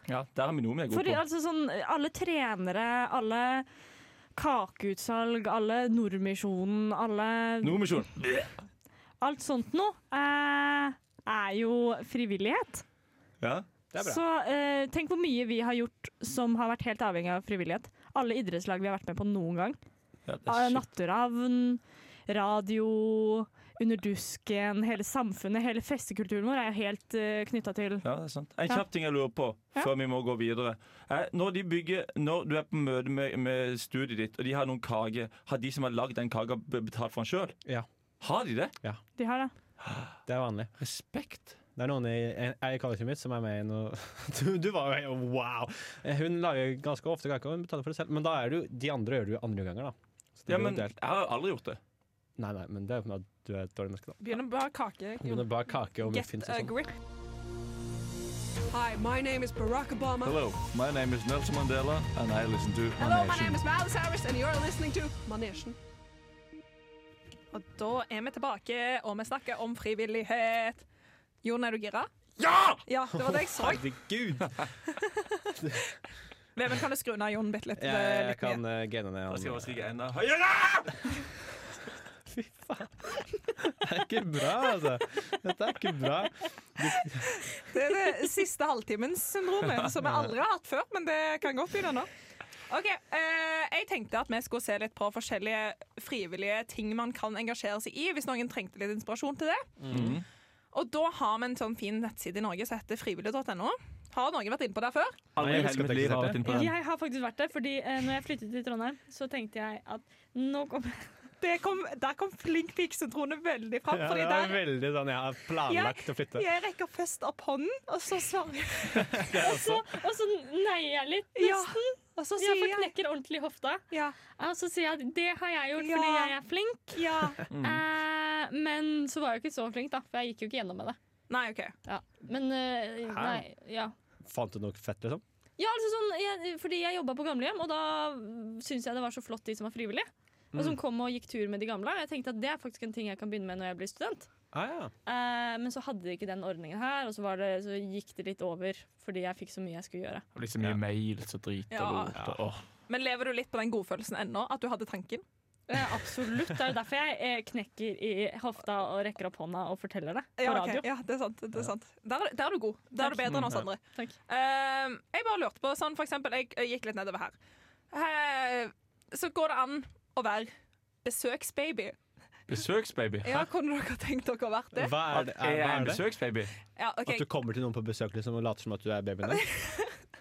[SPEAKER 8] Ja, Der har vi noe vi er
[SPEAKER 5] Fordi
[SPEAKER 8] gode på.
[SPEAKER 5] altså sånn, alle trenere, alle kakeutsalg, alle Nordmisjonen, alle
[SPEAKER 8] Nordmisjon.
[SPEAKER 5] Alt sånt noe eh, er jo frivillighet.
[SPEAKER 8] Ja.
[SPEAKER 7] Det er bra.
[SPEAKER 5] Så eh, tenk hvor mye vi har gjort som har vært helt avhengig av frivillighet. Alle idrettslag vi har vært med på noen gang.
[SPEAKER 8] Ja, det
[SPEAKER 5] Eh,
[SPEAKER 8] er shit.
[SPEAKER 5] Natteravn, radio, Under dusken, hele samfunnet, hele festekulturen vår er jo helt uh, knytta til
[SPEAKER 8] Ja, det er sant. En
[SPEAKER 5] Ja.
[SPEAKER 8] kjapp ting jeg lurer på
[SPEAKER 5] Ja.
[SPEAKER 8] før vi må gå videre. Eh, Når, de bygger, når du er på møte med, med studiet ditt, og de har noen kake, har de som har lagd den kaka, b- betalt for den sjøl?
[SPEAKER 7] Ja.
[SPEAKER 8] Har de det?
[SPEAKER 5] De her, da.
[SPEAKER 7] Det er vanlig.
[SPEAKER 8] Respekt.
[SPEAKER 7] Det er noen i, jeg i collegeen mitt som er med i noe [LAUGHS] du, du var jo helt wow! Hun lager ganske ofte kake, og hun betaler for det selv. Men da er det jo, de andre gjør det jo andre ganger, da. Så det
[SPEAKER 8] Ja,
[SPEAKER 7] blir jo
[SPEAKER 8] men jeg
[SPEAKER 7] delt.
[SPEAKER 8] har aldri gjort det.
[SPEAKER 7] Nei, nei, men det er jo fordi at du er et dårlig menneske, da.
[SPEAKER 4] Begynner bare kake.
[SPEAKER 7] Men det er bare kake og
[SPEAKER 4] Get
[SPEAKER 7] muffins
[SPEAKER 4] a
[SPEAKER 7] og sånn.
[SPEAKER 4] grip. Hi, my name is Barack Obama.
[SPEAKER 8] Hello, my name is Nelson Mandela, and I listen to Manation.
[SPEAKER 4] Miles Harris, and you're listening to Manesjen. Og da er vi tilbake, og vi snakker om frivillighet. Jon, er du gira?
[SPEAKER 8] Ja!
[SPEAKER 4] Ja, det var det jeg
[SPEAKER 7] [LAUGHS]
[SPEAKER 4] sa.
[SPEAKER 7] Herregud!
[SPEAKER 4] Vemund, kan du skru ned Jon bitte litt? eh,
[SPEAKER 7] Jeg, jeg
[SPEAKER 4] litt
[SPEAKER 7] kan
[SPEAKER 4] mye?
[SPEAKER 7] uh, gene ned
[SPEAKER 8] Da skal jeg bare
[SPEAKER 7] han.
[SPEAKER 8] skrike enda høyere!
[SPEAKER 7] [LAUGHS] Fy faen. Det er ikke bra, altså. Dette er ikke bra.
[SPEAKER 4] Det er det siste halvtimens
[SPEAKER 7] [LAUGHS]
[SPEAKER 4] syndromet, som vi aldri har hatt før, men det kan godt begynne nå. Ok, eh, Jeg tenkte at vi skulle se litt på forskjellige frivillige ting man kan engasjere seg i, hvis noen trengte litt inspirasjon til det.
[SPEAKER 8] Mm.
[SPEAKER 4] Og da har vi en sånn fin nettside i Norge som heter frivillig.no. Har noen vært inne på det før?
[SPEAKER 7] Nei,
[SPEAKER 8] Aldri
[SPEAKER 7] jeg
[SPEAKER 8] i
[SPEAKER 7] husker
[SPEAKER 8] hele
[SPEAKER 7] at jeg
[SPEAKER 8] mitt
[SPEAKER 7] ikke
[SPEAKER 8] liv har
[SPEAKER 7] ser
[SPEAKER 8] jeg vært inne på den.
[SPEAKER 5] Jeg har faktisk vært der, fordi eh, når jeg flyttet til Trondheim, så tenkte jeg at nå kommer [LAUGHS]
[SPEAKER 4] Det kom, der kom flink pikesyndromet veldig fram.
[SPEAKER 7] Ja,
[SPEAKER 4] fordi
[SPEAKER 7] det var
[SPEAKER 4] der,
[SPEAKER 7] veldig sånn jeg har planlagt å flytte.
[SPEAKER 4] jeg rekker først opp hånden, og så svarer jeg.
[SPEAKER 5] Og så, og så neier jeg litt,
[SPEAKER 4] Ja,
[SPEAKER 5] nesten.
[SPEAKER 4] og så
[SPEAKER 5] Ja,
[SPEAKER 4] sier
[SPEAKER 5] for
[SPEAKER 4] jeg
[SPEAKER 5] knekker ordentlig i hofta.
[SPEAKER 4] ja,
[SPEAKER 5] Og så sier jeg at det har jeg gjort
[SPEAKER 4] Ja.
[SPEAKER 5] fordi jeg er flink.
[SPEAKER 4] ja.
[SPEAKER 7] Mm.
[SPEAKER 5] Eh, men så var jeg jo ikke så flink, da, for jeg gikk jo ikke gjennom med det.
[SPEAKER 4] Nei, OK.
[SPEAKER 5] Ja. Men eh, nei, ja.
[SPEAKER 7] Fant du noe fett, liksom?
[SPEAKER 5] Ja, altså sånn, jeg, fordi jeg jobba på gamlehjem, og da syntes jeg det var så flott de som var frivillige. Og
[SPEAKER 8] Mm.
[SPEAKER 5] som kom og gikk tur med de gamle. Og jeg tenkte at det er faktisk en ting jeg kan begynne med når jeg blir student.
[SPEAKER 7] Ah, ja.
[SPEAKER 5] Eh, men så hadde de ikke den ordningen her, og så, var det, så gikk det litt over fordi jeg fikk så mye jeg skulle gjøre.
[SPEAKER 8] Det blir så mye mail, så drit og
[SPEAKER 4] Ja.
[SPEAKER 8] rot. og- åh.
[SPEAKER 4] Men lever du litt på den godfølelsen ennå? At du hadde tanken?
[SPEAKER 5] Eh, absolutt. Det er jo derfor jeg eh, knekker i hofta og rekker opp hånda og forteller det på
[SPEAKER 4] Ja, ok.
[SPEAKER 5] radio.
[SPEAKER 4] ja, det er sant. Det er sant. Der, er- der er du god. Der er du bedre enn oss andre.
[SPEAKER 7] Mm,
[SPEAKER 5] Takk.
[SPEAKER 4] Ehm, jeg bare lurte på sånn, For eksempel, jeg, jeg gikk litt nedover her. Eh, så går det an å være besøksbaby.
[SPEAKER 8] Besøksbaby.
[SPEAKER 4] Ja, kunne dere tenkt dere å være det?
[SPEAKER 7] Hva er
[SPEAKER 8] At
[SPEAKER 7] det?
[SPEAKER 8] jeg
[SPEAKER 7] Er, hva
[SPEAKER 8] er en
[SPEAKER 7] er det?
[SPEAKER 8] besøksbaby?
[SPEAKER 4] Ja, ok.
[SPEAKER 7] At du kommer til noen på besøk liksom, og later som at du er babyen
[SPEAKER 4] [LAUGHS]
[SPEAKER 7] der?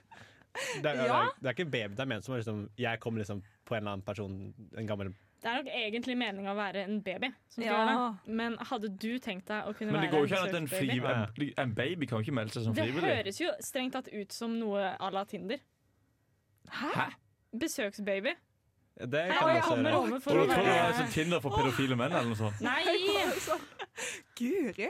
[SPEAKER 7] Det er,
[SPEAKER 4] Ja.
[SPEAKER 7] det er, det er ikke baby, det er ment som at liksom, jeg kommer liksom, på en eller annen person, en gammel
[SPEAKER 5] Det er nok egentlig meninga å være en baby. Som skal
[SPEAKER 4] Ja.
[SPEAKER 5] gjøre det. Men hadde du tenkt deg å kunne
[SPEAKER 8] Men det
[SPEAKER 5] være
[SPEAKER 8] går jo ikke an at en,
[SPEAKER 5] søt baby?
[SPEAKER 8] fri, en, en baby kan jo ikke melde seg som
[SPEAKER 5] Det
[SPEAKER 8] frivillig.
[SPEAKER 5] høres jo strengt tatt ut som noe à la Tinder.
[SPEAKER 8] Hæ?
[SPEAKER 5] Besøksbaby.
[SPEAKER 7] Det
[SPEAKER 5] Her
[SPEAKER 7] kan
[SPEAKER 5] jeg
[SPEAKER 7] jeg også
[SPEAKER 5] kommer
[SPEAKER 7] gjøre.
[SPEAKER 5] over
[SPEAKER 8] Og
[SPEAKER 5] for å
[SPEAKER 8] du tror det er
[SPEAKER 5] være
[SPEAKER 8] som Tinder for pedofile menn eller noe sånt?
[SPEAKER 5] Nei!
[SPEAKER 4] Guri.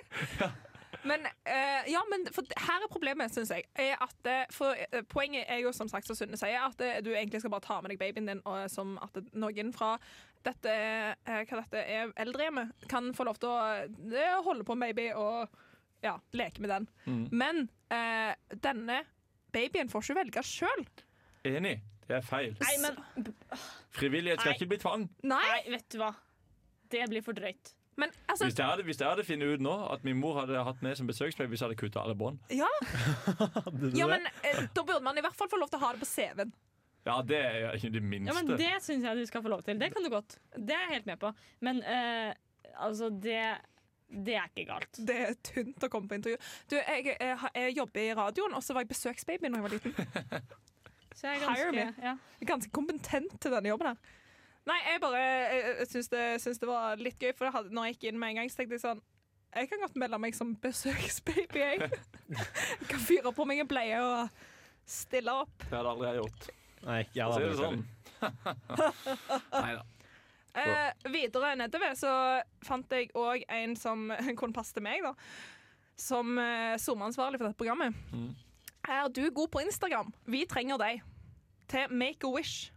[SPEAKER 4] Men, eh, ja, men for, her er problemet, syns jeg. Er at, eh, for, eh, poenget er jo, som sagt, som Sunne sier, at eh, du egentlig skal bare ta med deg babyen din, og som at det- noen fra dette, eh, hva dette er, eldrehjemmet, kan få lov til å eh, holde på med baby og ja, leke med den.
[SPEAKER 8] Mm.
[SPEAKER 4] Men eh, denne babyen får ikke velge sjøl.
[SPEAKER 8] Enig. Det er feil. Frivillighet skal
[SPEAKER 4] Nei.
[SPEAKER 8] ikke bli tvang.
[SPEAKER 4] Nei.
[SPEAKER 5] vet du hva. Det blir for drøyt.
[SPEAKER 4] Men altså
[SPEAKER 8] Hvis jeg hadde, hvis jeg hadde funnet ut nå at min mor hadde hatt meg som besøksbaby, så hadde jeg kutta alle bånd.
[SPEAKER 4] Ja, ja men eh, da burde man i hvert fall få lov til å ha det på CV-en.
[SPEAKER 8] Ja, det er ikke det minste.
[SPEAKER 5] Ja, men Det syns jeg du skal få lov til. Det kan du godt. Det er jeg helt med på. Men eh, altså, det Det er ikke galt.
[SPEAKER 4] Det er tynt å komme på intervju. Du, jeg, eh, ha- jeg jobber i radioen, og så var jeg besøksbaby da jeg var liten.
[SPEAKER 5] Så jeg er
[SPEAKER 4] Hire me.
[SPEAKER 5] ganske ja.
[SPEAKER 4] Jeg er ganske kompetent til denne jobben her. Nei, jeg bare eh, jeg syns det, syns det var litt gøy, for jeg hadde, når jeg gikk inn med en gang, så tenkte jeg sånn Jeg kan godt melde meg som besøksbaby, jeg. [LAUGHS] jeg kan fyre på meg en bleie og stille opp.
[SPEAKER 8] Det hadde aldri jeg gjort.
[SPEAKER 7] Nei, jeg
[SPEAKER 8] For å si
[SPEAKER 7] hadde
[SPEAKER 8] det sånn.
[SPEAKER 7] aldri
[SPEAKER 8] [LAUGHS]
[SPEAKER 7] Neida.
[SPEAKER 4] Eh, videre nedover så fant jeg òg en som [LAUGHS] kunne passe til meg, da. Som eh, SoMe-ansvarlig for dette programmet.
[SPEAKER 8] Mm.
[SPEAKER 4] Er du god på Instagram? Vi trenger deg. Til Make a Wish.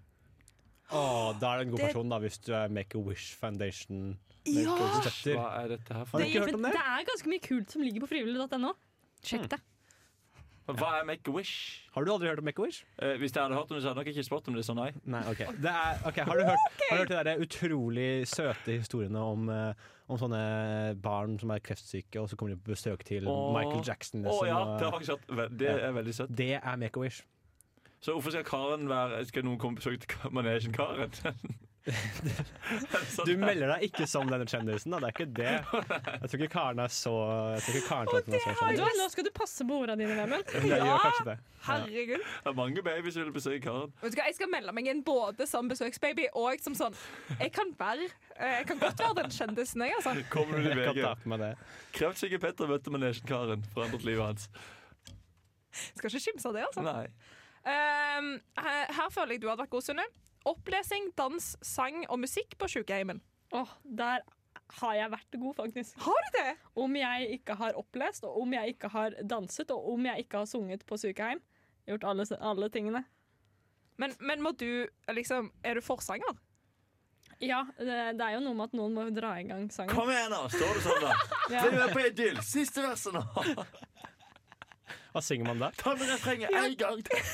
[SPEAKER 7] Å, da er du en god
[SPEAKER 4] Det-
[SPEAKER 7] person, da, hvis du er Make a Wish Foundation.
[SPEAKER 4] Ja!
[SPEAKER 7] Hva
[SPEAKER 8] er dette her
[SPEAKER 7] Har du ikke hørt om det?
[SPEAKER 5] Det er ganske mye kult som ligger på frivillig.no. Sjekk det.
[SPEAKER 8] Hva er Make a Wish?
[SPEAKER 7] Har du aldri hørt om Make a Wish?
[SPEAKER 8] Eh, hvis jeg hadde hørt om det, så hadde jeg nok ikke spurt om det, så nei.
[SPEAKER 7] Nei, ok. [LAUGHS] Det er, ok, har du hørt, har du hørt de der utrolig søte historiene om, eh, om sånne barn som er kreftsyke, og så kommer de på besøk til
[SPEAKER 8] Åh.
[SPEAKER 7] Michael Jackson?
[SPEAKER 8] Åh,
[SPEAKER 7] liksom,
[SPEAKER 8] ja,
[SPEAKER 7] og-
[SPEAKER 8] det har jeg faktisk hatt. Vel, Det
[SPEAKER 7] Ja.
[SPEAKER 8] er veldig søtt.
[SPEAKER 7] Det er Make-A-Wish.
[SPEAKER 8] Så hvorfor skal Karen være Skal noen komme på besøk til Ka- manesjen Karen?
[SPEAKER 7] [LAUGHS] Du melder deg ikke som denne kjendisen, da. Det er ikke det. Jeg tror ikke Karen er så Jeg tror ikke Karen tror at hun er så
[SPEAKER 5] Vet du hva,
[SPEAKER 7] kjendis.
[SPEAKER 5] Nå skal du passe på ordene dine, Vemund.
[SPEAKER 7] Men jeg gjør kanskje det.
[SPEAKER 4] Herregud.
[SPEAKER 8] Det er mange babyer som vil besøke Karen.
[SPEAKER 4] Vet du hva, Jeg skal melde meg inn både som besøksbaby og som sånn Jeg kan være eh, Jeg kan godt være den kjendisen, jeg, altså.
[SPEAKER 8] Kommer du til
[SPEAKER 7] [LAUGHS] Jeg kan
[SPEAKER 8] VG?
[SPEAKER 7] ta på meg det.
[SPEAKER 8] Kreftsyke Petter møtte manesjen Karen. Forandret livet hans.
[SPEAKER 4] Skal ikke kimse av det, altså.
[SPEAKER 8] Nei.
[SPEAKER 4] Ehm, her, her føler jeg du hadde vært god, Sunne. Opplesing, dans, sang og musikk på sykehjemmen.
[SPEAKER 5] Åh, der har jeg vært god, faktisk.
[SPEAKER 4] Har du det?
[SPEAKER 5] Om jeg ikke har opplest, og om jeg ikke har danset, og om jeg ikke har sunget på sykehjem. Gjort alle, alle tingene.
[SPEAKER 4] Men, men må du liksom Er du forsanger?
[SPEAKER 5] Ja, det, det er jo noe med at noen må jo dra i gang sangen.
[SPEAKER 8] Kom igjen, da! Står du [LAUGHS] sånn, da?
[SPEAKER 5] Ja.
[SPEAKER 8] Bli med på Idyll! Siste verset nå!
[SPEAKER 7] Hva synger man da?
[SPEAKER 8] Ta med refrenget en gang til!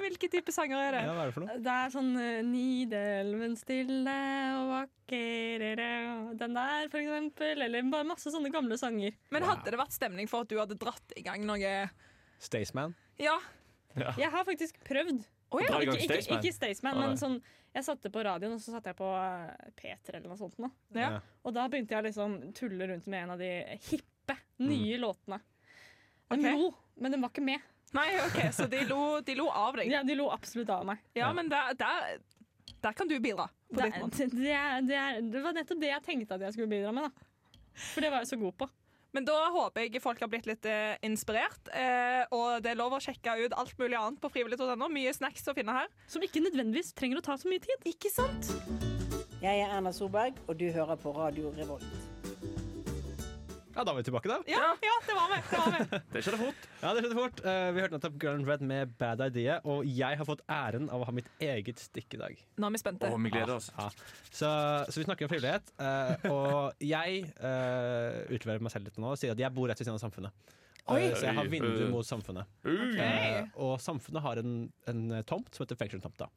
[SPEAKER 4] Hvilke type sanger er det?
[SPEAKER 7] Ja, hva er det for noe?
[SPEAKER 5] Det er sånn eh, Nidelven stille og vakkerere og Den der, for eksempel. Eller bare masse sånne gamle sanger.
[SPEAKER 4] Men hadde det vært stemning for at du hadde dratt i gang noe
[SPEAKER 7] Staysman?
[SPEAKER 4] Ja.
[SPEAKER 7] Ja.
[SPEAKER 5] Jeg har faktisk prøvd.
[SPEAKER 7] Å ja. Dra i gang
[SPEAKER 5] Ikke, ikke,
[SPEAKER 7] Staysman.
[SPEAKER 5] ikke Staysman,
[SPEAKER 7] Å,
[SPEAKER 5] men
[SPEAKER 7] nei.
[SPEAKER 5] sånn Jeg satte på radioen, og så satte jeg på eh, P3 eller noe sånt. Nå.
[SPEAKER 7] Ja.
[SPEAKER 5] Og da begynte jeg liksom tulle rundt med en av de hippe, nye låtene. De
[SPEAKER 4] Ok.
[SPEAKER 5] lo, men den var ikke med.
[SPEAKER 4] Nei, OK, så de lo, de lo av deg?
[SPEAKER 5] Ja, de lo absolutt av meg.
[SPEAKER 4] Ja, men der, der, der kan du bidra. På
[SPEAKER 5] Det,
[SPEAKER 4] ditt måte.
[SPEAKER 5] er- det, er, det, er, det var nettopp det jeg tenkte at jeg skulle bidra med, da. For det var jeg så god på.
[SPEAKER 4] Men da håper jeg folk har blitt litt eh, inspirert. Eh, og det er lov å sjekke ut alt mulig annet på frivillig.no. Mye snacks å finne her.
[SPEAKER 5] Som ikke nødvendigvis trenger å ta så mye tid.
[SPEAKER 4] Ikke sant?
[SPEAKER 11] Jeg er Erna Solberg, og du hører på Radio Revolt.
[SPEAKER 7] Ja, da er vi tilbake, da.
[SPEAKER 4] Ja, ja det var vi. Det var vi.
[SPEAKER 8] Det skjedde fort.
[SPEAKER 7] Ja, det skjedde fort. Eh, vi hørte nettopp Girl in Red med Bad Idea, og jeg har fått æren av å ha mitt eget stikk i dag.
[SPEAKER 4] [LAUGHS] Nå er vi spente.
[SPEAKER 8] Å, vi gleder oss.
[SPEAKER 7] Ja. Så, så vi snakker om frivillighet, eh, og jeg eh, utleverer meg selv litt nå og sier at jeg bor rett ved siden av samfunnet.
[SPEAKER 8] Oi.
[SPEAKER 7] Eh, så jeg har vindu
[SPEAKER 8] Oi.
[SPEAKER 7] mot samfunnet.
[SPEAKER 8] Ui.
[SPEAKER 7] Eh, og samfunnet har en, en eh, tomt som heter Fengselstomta.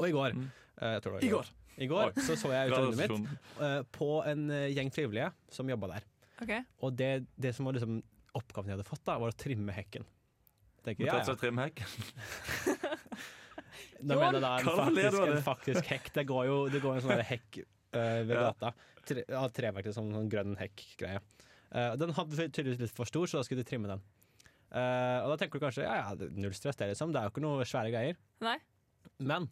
[SPEAKER 7] Og i går eh, jeg tror det var
[SPEAKER 8] I går.
[SPEAKER 7] I går
[SPEAKER 8] Mm. Oi.
[SPEAKER 7] så, så jeg ut av vinduet mitt
[SPEAKER 8] Radiostasjonen.
[SPEAKER 7] eh, på en eh, gjeng frivillige som jobba der.
[SPEAKER 4] Ok.
[SPEAKER 7] Og det, det som var liksom oppgaven jeg hadde fått, da var å trimme hekken. Tenker,
[SPEAKER 8] Vi
[SPEAKER 7] ja,
[SPEAKER 8] tar
[SPEAKER 7] ja.
[SPEAKER 8] seg trimhekken.
[SPEAKER 7] Da mener jeg da
[SPEAKER 8] Hva
[SPEAKER 7] en
[SPEAKER 8] ler du
[SPEAKER 7] faktisk,
[SPEAKER 8] av
[SPEAKER 7] en
[SPEAKER 8] det?
[SPEAKER 7] faktisk hekk. Det går jo det går en sånn der hekk eh, ved
[SPEAKER 8] Ja.
[SPEAKER 7] gata. Tre, av treverk, sånn, sånn grønn hekk-greie. Eh, den hadde tydeligvis litt for stor, så da skulle de trimme den. Eh, og da tenker du kanskje ja, ja, det- null stress, det, liksom. Det er jo ikke noe svære greier.
[SPEAKER 4] Nei.
[SPEAKER 7] Men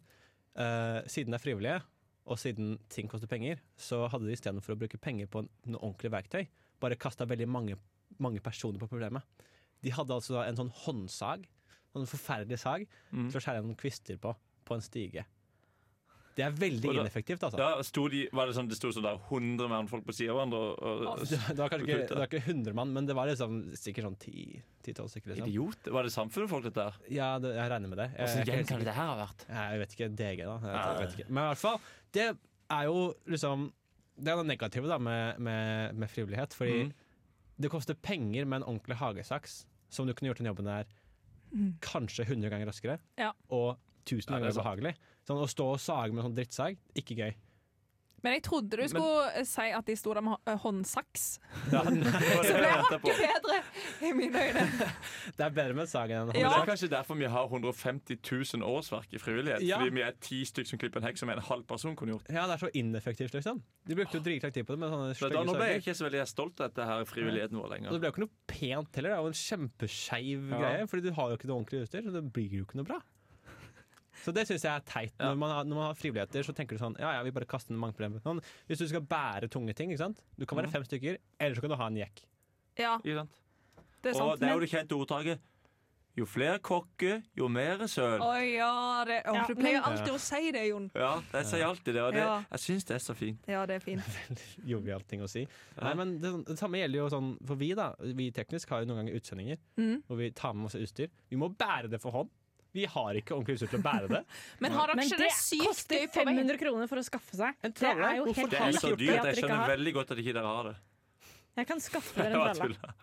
[SPEAKER 7] eh, siden det er frivillige, og siden ting koster penger, så hadde de istedenfor å bruke penger på en- noe ordentlig verktøy, bare kasta veldig mange, mange personer på problemet. De hadde altså da en sånn håndsag, sånn forferdelig sag, til å skjære noen kvister på, på en stige. Det er veldig
[SPEAKER 8] Og da-
[SPEAKER 7] ineffektivt, altså.
[SPEAKER 12] Ja.
[SPEAKER 8] Ja, sto de, var det sånn, det sto sånn der 100 mannfolk på siden av hverandre? Og, og,
[SPEAKER 7] [LAUGHS] Det det var kanskje ikke, det var ikke 100 mann, men det var liksom sikkert sånn 10-12 stykker. Liksom.
[SPEAKER 8] Idiot. Var det samfunnet folk, dette her?
[SPEAKER 7] Ja, det, jeg regner med det. Eh, Jeg,
[SPEAKER 3] Altså,
[SPEAKER 8] Hvordan
[SPEAKER 7] jeg er ikke helt
[SPEAKER 8] gjeng kan
[SPEAKER 7] sikker.
[SPEAKER 8] det
[SPEAKER 7] [LAUGHS]
[SPEAKER 8] her ha vært?
[SPEAKER 7] Nei, Jeg vet ikke. DG, da. Jeg vet,
[SPEAKER 8] Ja.
[SPEAKER 7] jeg vet ikke. Men i hvert fall, det er jo liksom det er det negative da med, med, med frivillighet. Fordi
[SPEAKER 3] Mhm.
[SPEAKER 7] det koster penger med en ordentlig hagesaks, som du kunne gjort den jobben der
[SPEAKER 4] Mm.
[SPEAKER 7] kanskje 100 ganger raskere.
[SPEAKER 4] Ja.
[SPEAKER 7] Og 1000
[SPEAKER 3] Ja,
[SPEAKER 7] ganger
[SPEAKER 3] det er sant.
[SPEAKER 7] behagelig. Sånn, å stå og sage med en sånn drittsag, ikke gøy.
[SPEAKER 4] Men jeg trodde du
[SPEAKER 7] Men-
[SPEAKER 4] skulle eh, si at de sto der med hå- eh, håndsaks.
[SPEAKER 3] Så
[SPEAKER 4] [LAUGHS] Det er hakket bedre i mine øyne.
[SPEAKER 7] Det er bedre med sag enn en
[SPEAKER 3] Men det er
[SPEAKER 7] håndsag.
[SPEAKER 3] kanskje derfor vi har 150 000 årsverk i frivillighet.
[SPEAKER 7] Ja.
[SPEAKER 3] Fordi vi er ti stykker som klipper en hekk som en halv person kunne gjort.
[SPEAKER 7] Ja, det er så ineffektivt, liksom. De brukte jo dritlang tid på det. Med sånne
[SPEAKER 3] Så Ah. da,
[SPEAKER 7] stygge
[SPEAKER 3] nå ble
[SPEAKER 7] sager.
[SPEAKER 3] jeg ikke så veldig stolt av dette her frivilligheten vår
[SPEAKER 7] Og det
[SPEAKER 3] lenger.
[SPEAKER 7] ble jo ikke noe pent heller. Det er jo en kjempeskeiv
[SPEAKER 3] Ja.
[SPEAKER 7] greie, Fordi du har jo ikke noe ordentlig utstyr, så det blir jo ikke noe bra. Så det syns jeg er teit. Når, man har, når man har frivilligheter, så tenker du sånn Ja ja, vi bare kaster den mange problemer. Sånn, hvis du skal bære tunge ting, ikke sant. Du kan være
[SPEAKER 3] Mhm.
[SPEAKER 7] fem stykker, eller så kan du ha en jekk. [LAUGHS]
[SPEAKER 4] Ja,
[SPEAKER 3] Ikke sant?
[SPEAKER 4] det er
[SPEAKER 3] Og
[SPEAKER 4] sant.
[SPEAKER 3] det er jo
[SPEAKER 4] men-
[SPEAKER 3] det kjente ordtaket jo flere kokker, jo mer søl.
[SPEAKER 4] Å ja, det, å,
[SPEAKER 5] Ja,
[SPEAKER 4] du pleier
[SPEAKER 5] men-
[SPEAKER 4] alltid å si det, Jon.
[SPEAKER 3] Ja, jeg sier alltid det, og det,
[SPEAKER 4] Ja.
[SPEAKER 3] jeg syns det er så fint.
[SPEAKER 4] Ja, det er fint.
[SPEAKER 7] Jovial ting å si. Nei, men det, det samme gjelder jo sånn for vi, da. Vi teknisk har jo noen ganger utsendinger
[SPEAKER 3] Mhm.
[SPEAKER 4] Mm.
[SPEAKER 7] hvor vi tar med masse utstyr. Vi må bære det for hånd. Vi har ikke ordentlig utstyr til å bære
[SPEAKER 3] [LAUGHS]
[SPEAKER 7] det.
[SPEAKER 4] Men har dere
[SPEAKER 5] Men det
[SPEAKER 4] ikke det sykt
[SPEAKER 5] koster
[SPEAKER 4] gøy på veien?
[SPEAKER 5] 500 kroner for å skaffe seg.
[SPEAKER 7] En
[SPEAKER 5] Det
[SPEAKER 7] tralle?
[SPEAKER 5] er jo
[SPEAKER 7] Hvorfor
[SPEAKER 5] helt
[SPEAKER 3] Det er
[SPEAKER 7] Alle
[SPEAKER 3] så
[SPEAKER 5] sjukt
[SPEAKER 3] dyrt.
[SPEAKER 5] at
[SPEAKER 3] Jeg
[SPEAKER 5] dere ikke
[SPEAKER 3] skjønner
[SPEAKER 5] har.
[SPEAKER 3] veldig godt at ikke dere har det.
[SPEAKER 5] Jeg kan skaffe dere
[SPEAKER 3] Det
[SPEAKER 5] en
[SPEAKER 3] var
[SPEAKER 5] tralle.
[SPEAKER 3] tull.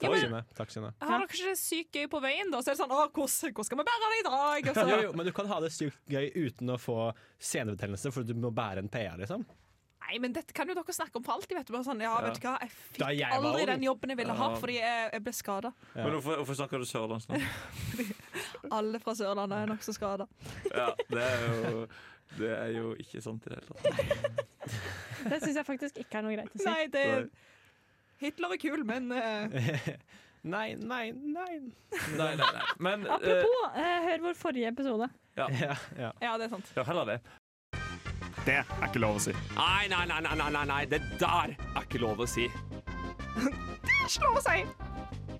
[SPEAKER 7] Takk, Synne. Takk, Synne.
[SPEAKER 4] Har dere ikke det sykt gøy på veien, da? Så er det sånn Å, hvordan, hvordan skal vi bære det i dag? Og så,
[SPEAKER 7] Jo, jo, men du kan ha det sykt gøy uten å få senebetennelse, for du må bære en PA, liksom. [LAUGHS]
[SPEAKER 4] Nei, men dette kan jo dere snakke om for alltid, vet du. Bare sånn Ja, vet du hva, jeg
[SPEAKER 7] Da
[SPEAKER 4] fikk
[SPEAKER 7] jeg var
[SPEAKER 4] aldri
[SPEAKER 7] ung.
[SPEAKER 4] den jobben jeg ville ha
[SPEAKER 3] Ja.
[SPEAKER 4] fordi jeg, jeg ble skada.
[SPEAKER 7] Ja.
[SPEAKER 3] Men hvorfor, hvorfor snakker du sørlandsk nå?
[SPEAKER 4] Alle fra Sørlandet er nokså skada.
[SPEAKER 3] Ja, det er jo det er jo ikke sant i det hele tatt.
[SPEAKER 5] Det syns jeg faktisk ikke er noe greit å si.
[SPEAKER 4] Nei, det
[SPEAKER 3] Nei.
[SPEAKER 4] Hitler er kul, men eh,
[SPEAKER 7] Nei, nei, nei.
[SPEAKER 3] Nei, nei, nei. Men eh,
[SPEAKER 5] Apropos, eh, hør vår forrige episode.
[SPEAKER 7] Ja, ja.
[SPEAKER 4] Ja, det er sant.
[SPEAKER 3] ja, heller det.
[SPEAKER 13] Det er ikke lov å si.
[SPEAKER 2] Nei, nei, nei, nei, nei, nei, nei, det der er ikke lov å si.
[SPEAKER 1] Ikke lov å si!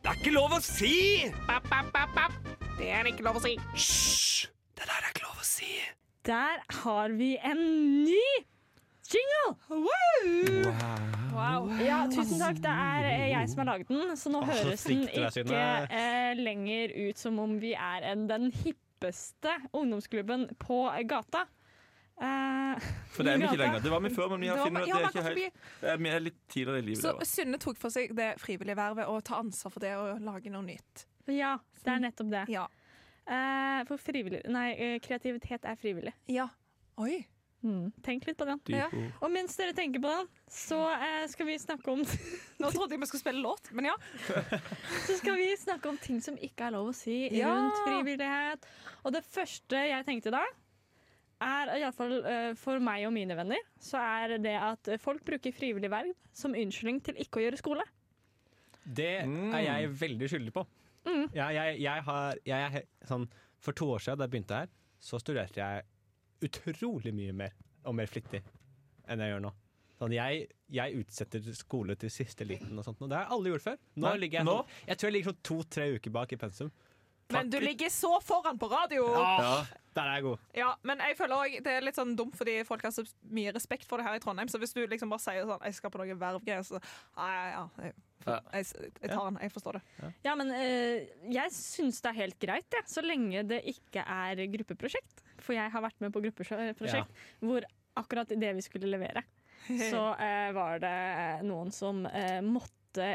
[SPEAKER 2] Det er ikke lov å si!
[SPEAKER 1] Papp, papp, papp, papp. Det er ikke lov å si.
[SPEAKER 2] Hysj! Det der er ikke lov å si.
[SPEAKER 5] Der har vi en ny jingle!
[SPEAKER 4] Wow.
[SPEAKER 5] Ja, tusen takk. Det er eh, jeg som har laget den, så nå
[SPEAKER 7] Åh, så
[SPEAKER 5] høres den
[SPEAKER 7] flink du er, Synne.
[SPEAKER 5] ikke eh, lenger ut som om vi er en, den hippeste ungdomsklubben på gata. Eh,
[SPEAKER 3] For det er vi ikke
[SPEAKER 5] gata.
[SPEAKER 3] lenger. Det var vi før, men vi har
[SPEAKER 4] Da-
[SPEAKER 3] funnet ut
[SPEAKER 4] ja,
[SPEAKER 3] at det er
[SPEAKER 4] man
[SPEAKER 3] ikke
[SPEAKER 4] kan
[SPEAKER 3] helt det er, Vi er litt tidligere i livet.
[SPEAKER 4] Så
[SPEAKER 3] det var.
[SPEAKER 4] Synne tok for seg det frivillige vervet og ta ansvar for det og lage noe nytt.
[SPEAKER 5] Ja, det er nettopp det.
[SPEAKER 4] Ja.
[SPEAKER 5] Eh, for frivillig Nei, eh, kreativitet er frivillig.
[SPEAKER 4] ja. Oi.
[SPEAKER 5] Mm, tenk litt på den.
[SPEAKER 4] Ja.
[SPEAKER 5] Og mens dere tenker på den, så eh, skal vi snakke om
[SPEAKER 4] Nå trodde jeg vi skulle spille låt, men ja.
[SPEAKER 5] så skal vi snakke om ting som ikke er lov å si
[SPEAKER 4] Ja.
[SPEAKER 5] rundt frivillighet. Og det første jeg tenkte da, er iallfall eh, for meg og mine venner, så er det at folk bruker frivillig verv som unnskyldning til ikke å gjøre skole.
[SPEAKER 7] Det er jeg veldig skyldig på.
[SPEAKER 5] Mm.
[SPEAKER 7] Ja, jeg, jeg har, jeg er he- sånn, for to år siden da jeg begynte her, så studerte jeg utrolig mye mer, og mer flittig, enn jeg gjør nå. Sånn, jeg, jeg utsetter skole til siste liten og sånt. nå. Det har jeg aldri gjort før. Nå
[SPEAKER 3] Nei,
[SPEAKER 7] ligger jeg,
[SPEAKER 3] nå?
[SPEAKER 7] sånn, jeg tror jeg ligger sånn to-tre uker bak i pensum.
[SPEAKER 4] Men du ligger så foran på radio!
[SPEAKER 7] Ah, Der er jeg god.
[SPEAKER 4] Ja, men jeg føler også, det er litt sånn dumt fordi folk har så mye respekt for det her i Trondheim. Så hvis du liksom bare sier sånn 'Jeg skal på noen vervgreier', så Nei, ja. Jeg,
[SPEAKER 3] Ja.
[SPEAKER 4] jeg, jeg tar den. Jeg forstår det.
[SPEAKER 5] Ja, men eh, jeg syns det er helt greit, jeg, så lenge det ikke er gruppeprosjekt. For jeg har vært med på
[SPEAKER 7] Ja.
[SPEAKER 5] gruppeprosjekt hvor akkurat det vi skulle levere, så
[SPEAKER 7] [LAUGHS]
[SPEAKER 5] eh, var det eh, noen som eh, måtte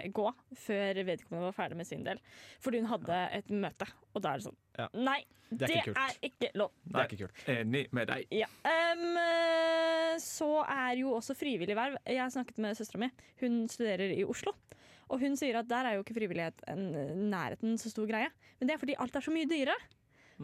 [SPEAKER 5] gå før vedkommende var ferdig med sin del. Fordi hun hadde et møte, og da er det sånn.
[SPEAKER 7] Ja.
[SPEAKER 5] Nei,
[SPEAKER 7] Det er
[SPEAKER 5] det
[SPEAKER 7] ikke
[SPEAKER 5] er
[SPEAKER 7] kult.
[SPEAKER 5] ikke, lov.
[SPEAKER 7] Det er ikke kult.
[SPEAKER 3] Enig med deg.
[SPEAKER 5] Ja. Em, eh, så er jo også frivillig verv. Jeg har snakket med søstera mi. Hun studerer i Oslo. Og hun sier at der er jo ikke frivillighet en eh, nærheten så stor greie. Men det er fordi alt er så mye dyrere.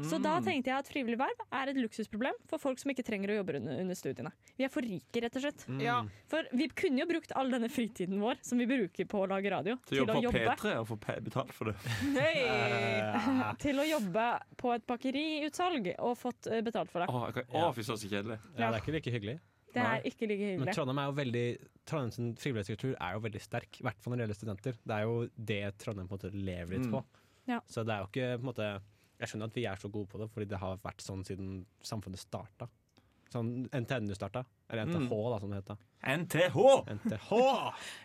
[SPEAKER 5] Så da
[SPEAKER 3] Mm.
[SPEAKER 8] Mm.
[SPEAKER 5] tenkte jeg at frivillig verv er et luksusproblem for folk som ikke trenger å jobbe under, under studiene. Vi er for rike, rett og slett.
[SPEAKER 4] Ja.
[SPEAKER 5] For vi kunne jo brukt all denne fritiden vår som vi bruker på å lage radio,
[SPEAKER 3] Så
[SPEAKER 5] til
[SPEAKER 3] jobbe
[SPEAKER 5] å
[SPEAKER 3] på
[SPEAKER 5] jobbe.
[SPEAKER 3] P3 og få pe- betalt for det.
[SPEAKER 7] Eh,
[SPEAKER 4] Hei!
[SPEAKER 5] [LAUGHS] Til å jobbe på et bakeriutsalg og fått eh, betalt for det.
[SPEAKER 3] Å, jeg kan- å, fy søren, så kjedelig.
[SPEAKER 7] Ja, det er ikke like hyggelig.
[SPEAKER 5] Det er ikke like
[SPEAKER 7] Men
[SPEAKER 5] hyggelig.
[SPEAKER 7] Trondheim er jo veldig Trondheims frivillighetskultur er jo veldig sterk, i hvert fall når det gjelder studenter. Det er jo det Trondheim på en måte lever litt
[SPEAKER 3] Mm.
[SPEAKER 7] på.
[SPEAKER 5] Ja.
[SPEAKER 7] Så det er jo ikke på en måte Jeg skjønner at vi er så gode på det, fordi det har vært sånn siden samfunnet starta. Sånn NTNU starta. Eller NTH, da, som det het da.
[SPEAKER 3] NTH!
[SPEAKER 7] NTH!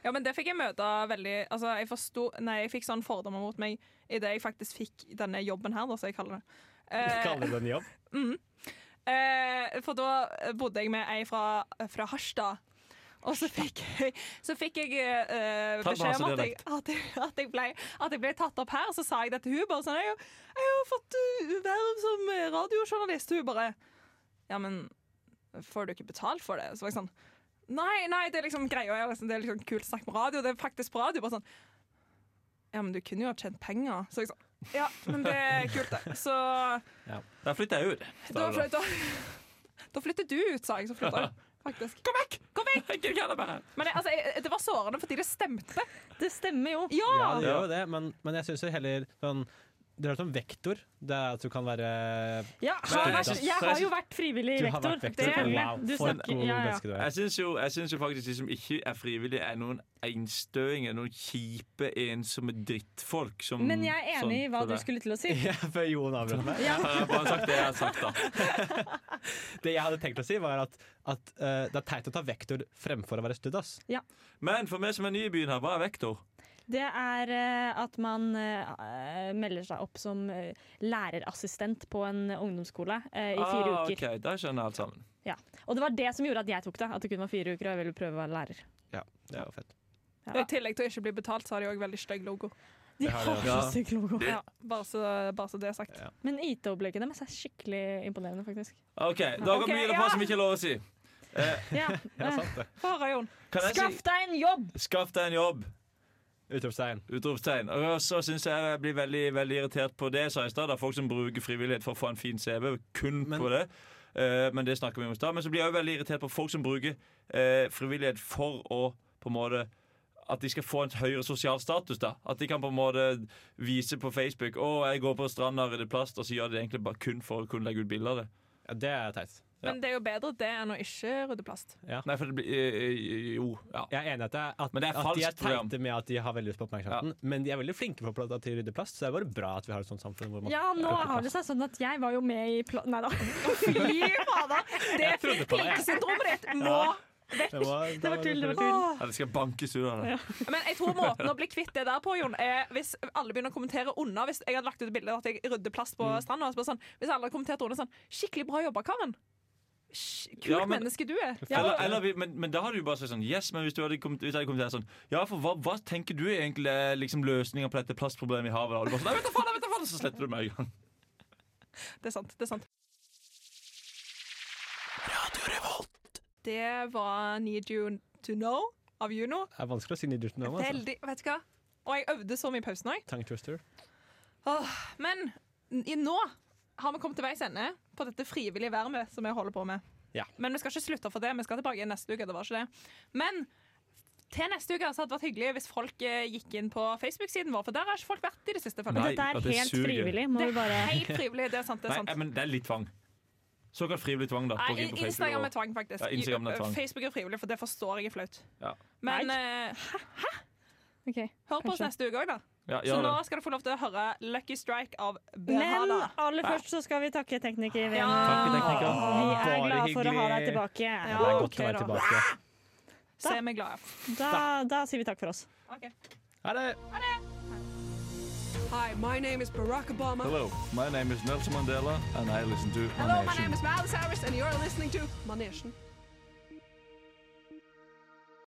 [SPEAKER 4] Ja, men det fikk jeg møte veldig Altså, jeg forsto Nei, jeg fikk sånn fordommer mot meg idet jeg faktisk fikk denne jobben her, da, som jeg kaller det. Eh,
[SPEAKER 7] Kaller det en jobb?
[SPEAKER 4] mm. eh, for da bodde jeg med ei fra, fra Harstad. Og så fikk jeg, så fikk jeg eh,
[SPEAKER 14] Ta
[SPEAKER 4] beskjed om at jeg,
[SPEAKER 14] Basse-dialekt.
[SPEAKER 4] at, jeg, at, jeg ble, at jeg ble tatt opp her. Så sa jeg det til hun bare sånn Jeg, jeg har fått eh, verv som eh, radiojournalist. Hun bare Ja, men får du ikke betalt for det? Så var jeg sånn Nei, nei, det er liksom greia. jeg er Liksom, det er liksom kult å snakke med radio. Det er faktisk på radio. Bare sånn Ja, men du kunne jo ha tjent penger. Så jeg sånn Ja, men det er kult, det. Så
[SPEAKER 8] Ja. Da flytter jeg ut.
[SPEAKER 4] da
[SPEAKER 8] sa du da.
[SPEAKER 4] flytter, da, flytter du ut, sa jeg. Så flytta jeg faktisk. Kom vekk! Kom vekk!
[SPEAKER 8] Jeg kan det bare.
[SPEAKER 4] Men det, altså, jeg, det var sårende fordi det stemte.
[SPEAKER 5] Det stemmer jo.
[SPEAKER 4] Ja!
[SPEAKER 7] Ja, det gjør jo det, men, men jeg syns jo heller sånn Det høres om vektor. Det er at du kan være
[SPEAKER 5] Ja, har vært, jeg har jo vært frivillig
[SPEAKER 7] Du har
[SPEAKER 5] rektor.
[SPEAKER 7] vært vektor, selvfølgelig. Wow,
[SPEAKER 5] Du
[SPEAKER 7] for et
[SPEAKER 5] snakker,
[SPEAKER 7] god
[SPEAKER 5] ja,
[SPEAKER 7] menneske du
[SPEAKER 5] ja.
[SPEAKER 7] er. [LAUGHS]
[SPEAKER 8] Jeg syns jo, jeg syns jo faktisk de som ikke er frivillige, er noen einstøinger. Noen kjipe, ensomme drittfolk. Som,
[SPEAKER 5] Men jeg er enig
[SPEAKER 7] Mm, sånn
[SPEAKER 5] i hva du skulle til å
[SPEAKER 7] [LAUGHS]
[SPEAKER 5] si. Ja,
[SPEAKER 7] før Jon avbrøt meg.
[SPEAKER 8] Ja. Jeg har bare sagt det jeg har sagt, da.
[SPEAKER 7] Det jeg hadde tenkt å si, var at, at eh, det er teit å ta vektor fremfor å være studd, ass.
[SPEAKER 5] Ja.
[SPEAKER 8] Men for meg som er ny i byen her, hva er vektor?
[SPEAKER 5] Det er eh, at man eh, melder seg opp som eh, lærerassistent på en ungdomsskole eh, i fire
[SPEAKER 8] Ah,
[SPEAKER 5] uker.
[SPEAKER 8] ok, Da skjønner jeg alt sammen.
[SPEAKER 5] Ja. Og det var det som gjorde at jeg tok det. At det kun var fire uker og jeg ville prøve å være lærer.
[SPEAKER 7] Ja, det er jo fett.
[SPEAKER 4] I tillegg til å ikke bli betalt, så har de òg veldig stygg logo.
[SPEAKER 5] De har så stygg logo.
[SPEAKER 4] Ja, bare, så, bare så det er sagt.
[SPEAKER 5] Men IT-opplegget deres er skikkelig imponerende, faktisk.
[SPEAKER 8] OK, da kan
[SPEAKER 5] Ok,
[SPEAKER 8] vi gi det
[SPEAKER 5] ja.
[SPEAKER 8] fra som ikke er lov å si. Eh,
[SPEAKER 7] [LAUGHS]
[SPEAKER 5] Ja.
[SPEAKER 4] Få høre, Jon.
[SPEAKER 8] Kan jeg si-
[SPEAKER 5] Skaff deg en jobb!
[SPEAKER 8] Skaff deg en jobb.
[SPEAKER 7] Utropstegn.
[SPEAKER 8] Utropstegn. Og så syns jeg jeg blir veldig, veldig irritert på det jeg sa i stad. da. Folk som bruker frivillighet for å få en fin CV, kun på det. Eh, men det snakker vi om i stad. Men så blir jeg også veldig irritert på folk som bruker eh, frivillighet for å på en måte at de skal få en høyere sosial status. da At de kan på en måte vise på Facebook 'Å, jeg går på stranda og rydder plast', og så gjør de det egentlig bare kun for å kunne legge ut bilder av det.
[SPEAKER 7] Ja, Det er teit.
[SPEAKER 4] Men det er jo bedre det enn å ikke rydde plast.
[SPEAKER 8] Nei, for det blir eh, Jo. Ja.
[SPEAKER 7] Jeg er enig i at, det er- at,
[SPEAKER 8] Men det er
[SPEAKER 7] at de er
[SPEAKER 8] falskt program.
[SPEAKER 7] teite med at de har veldig lyst på oppmerksomheten, men de er veldig flinke på pl- at de rydder plast, så det er bare bra at vi har et sånt samfunn. Hvor man
[SPEAKER 5] Ja, nå
[SPEAKER 7] plukker
[SPEAKER 5] har det
[SPEAKER 7] plast.
[SPEAKER 5] seg sånn at jeg var jo med i pla... Nei da. [LAUGHS] Fy fader!
[SPEAKER 4] Det
[SPEAKER 7] Jeg trodde på det, jeg.
[SPEAKER 4] Pinkesyndromet ditt må
[SPEAKER 7] Ja.
[SPEAKER 4] vekk!
[SPEAKER 7] [LAUGHS] Det var-
[SPEAKER 4] Det var tull, det var tull.
[SPEAKER 8] Ja, det skal bankes ut av det.
[SPEAKER 4] Men jeg tror måten å bli kvitt det der på, Jon, er hvis alle begynner å kommentere unna. Hvis jeg hadde lagt ut et bilde av at jeg rydder plast på stranda, og så bare sånn, hvis alle hadde kommentert under sånn Skikkelig bra jobba, Karen. Sk- Kult
[SPEAKER 8] Ja, men-
[SPEAKER 4] menneske du er.
[SPEAKER 8] Eller, eller, vi- men, men da hadde du bare sagt sånn Yes, men hvis du hadde kommet, hvis jeg hadde kommet her sånn Ja, for hva, hva tenker du er egentlig er liksom løsninga på dette plastproblemet i havet? Da? Og du bare sånn, Nei, vet du faen, nei, vet du faen, så sletter du meg en gang.
[SPEAKER 4] Det er sant. Det er sant. Det var Need You To Know av Juno.
[SPEAKER 7] Det er vanskelig å si nydelig nå, altså.
[SPEAKER 4] Veldig, vet du hva? Og jeg øvde så mye i pausen òg.
[SPEAKER 7] Tongue twister.
[SPEAKER 4] Åh, men i, nå har vi kommet til veis ende på dette frivillige vervet som vi holder på med.
[SPEAKER 7] Ja.
[SPEAKER 4] Men vi skal ikke slutte for det. Vi skal tilbake neste uke. det var ikke det. Men til neste uke så hadde det vært hyggelig hvis folk eh, gikk inn på Facebook-siden vår, for der har ikke folk vært i det siste. føler jeg.
[SPEAKER 5] Dette er helt frivillig. Må
[SPEAKER 4] Det
[SPEAKER 5] vi
[SPEAKER 4] er
[SPEAKER 5] bare
[SPEAKER 4] helt frivillig. Det er sant. det er
[SPEAKER 8] Nei,
[SPEAKER 4] sant.
[SPEAKER 8] eh, men det er litt tvang. Såkalt frivillig tvang, da. på å gå
[SPEAKER 4] Nei,
[SPEAKER 8] inn på Facebook
[SPEAKER 4] Instagram
[SPEAKER 8] og-
[SPEAKER 4] er tvang, faktisk.
[SPEAKER 8] Ja, Instagram er tvang.
[SPEAKER 4] Facebook er frivillig, for det forstår jeg er flaut.
[SPEAKER 8] Ja.
[SPEAKER 4] Men eh, hæ? Hør på oss neste uke òg, da.
[SPEAKER 8] Ja,
[SPEAKER 4] så
[SPEAKER 8] gjør
[SPEAKER 4] nå
[SPEAKER 8] det.
[SPEAKER 4] skal du få lov til å høre Lucky Strike av
[SPEAKER 5] Men
[SPEAKER 4] Behada.
[SPEAKER 5] aller først så skal vi takke tekniker Vemund.
[SPEAKER 4] Takk,
[SPEAKER 7] tekniker.
[SPEAKER 5] Vi er
[SPEAKER 7] Bare
[SPEAKER 5] glad for å ha deg
[SPEAKER 7] hyggelig.
[SPEAKER 5] tilbake.
[SPEAKER 7] Ja, det er godt å være tilbake.
[SPEAKER 4] Se meg glad,
[SPEAKER 5] Da, da sier vi takk for oss.
[SPEAKER 7] Ha det!
[SPEAKER 15] Hi, my name is Barack Obama.
[SPEAKER 3] Hello, my name is Nelson Mandela, and I listen to
[SPEAKER 15] Hello, my
[SPEAKER 3] Manation.
[SPEAKER 15] name is Miles Harris, and you're listening to Manation.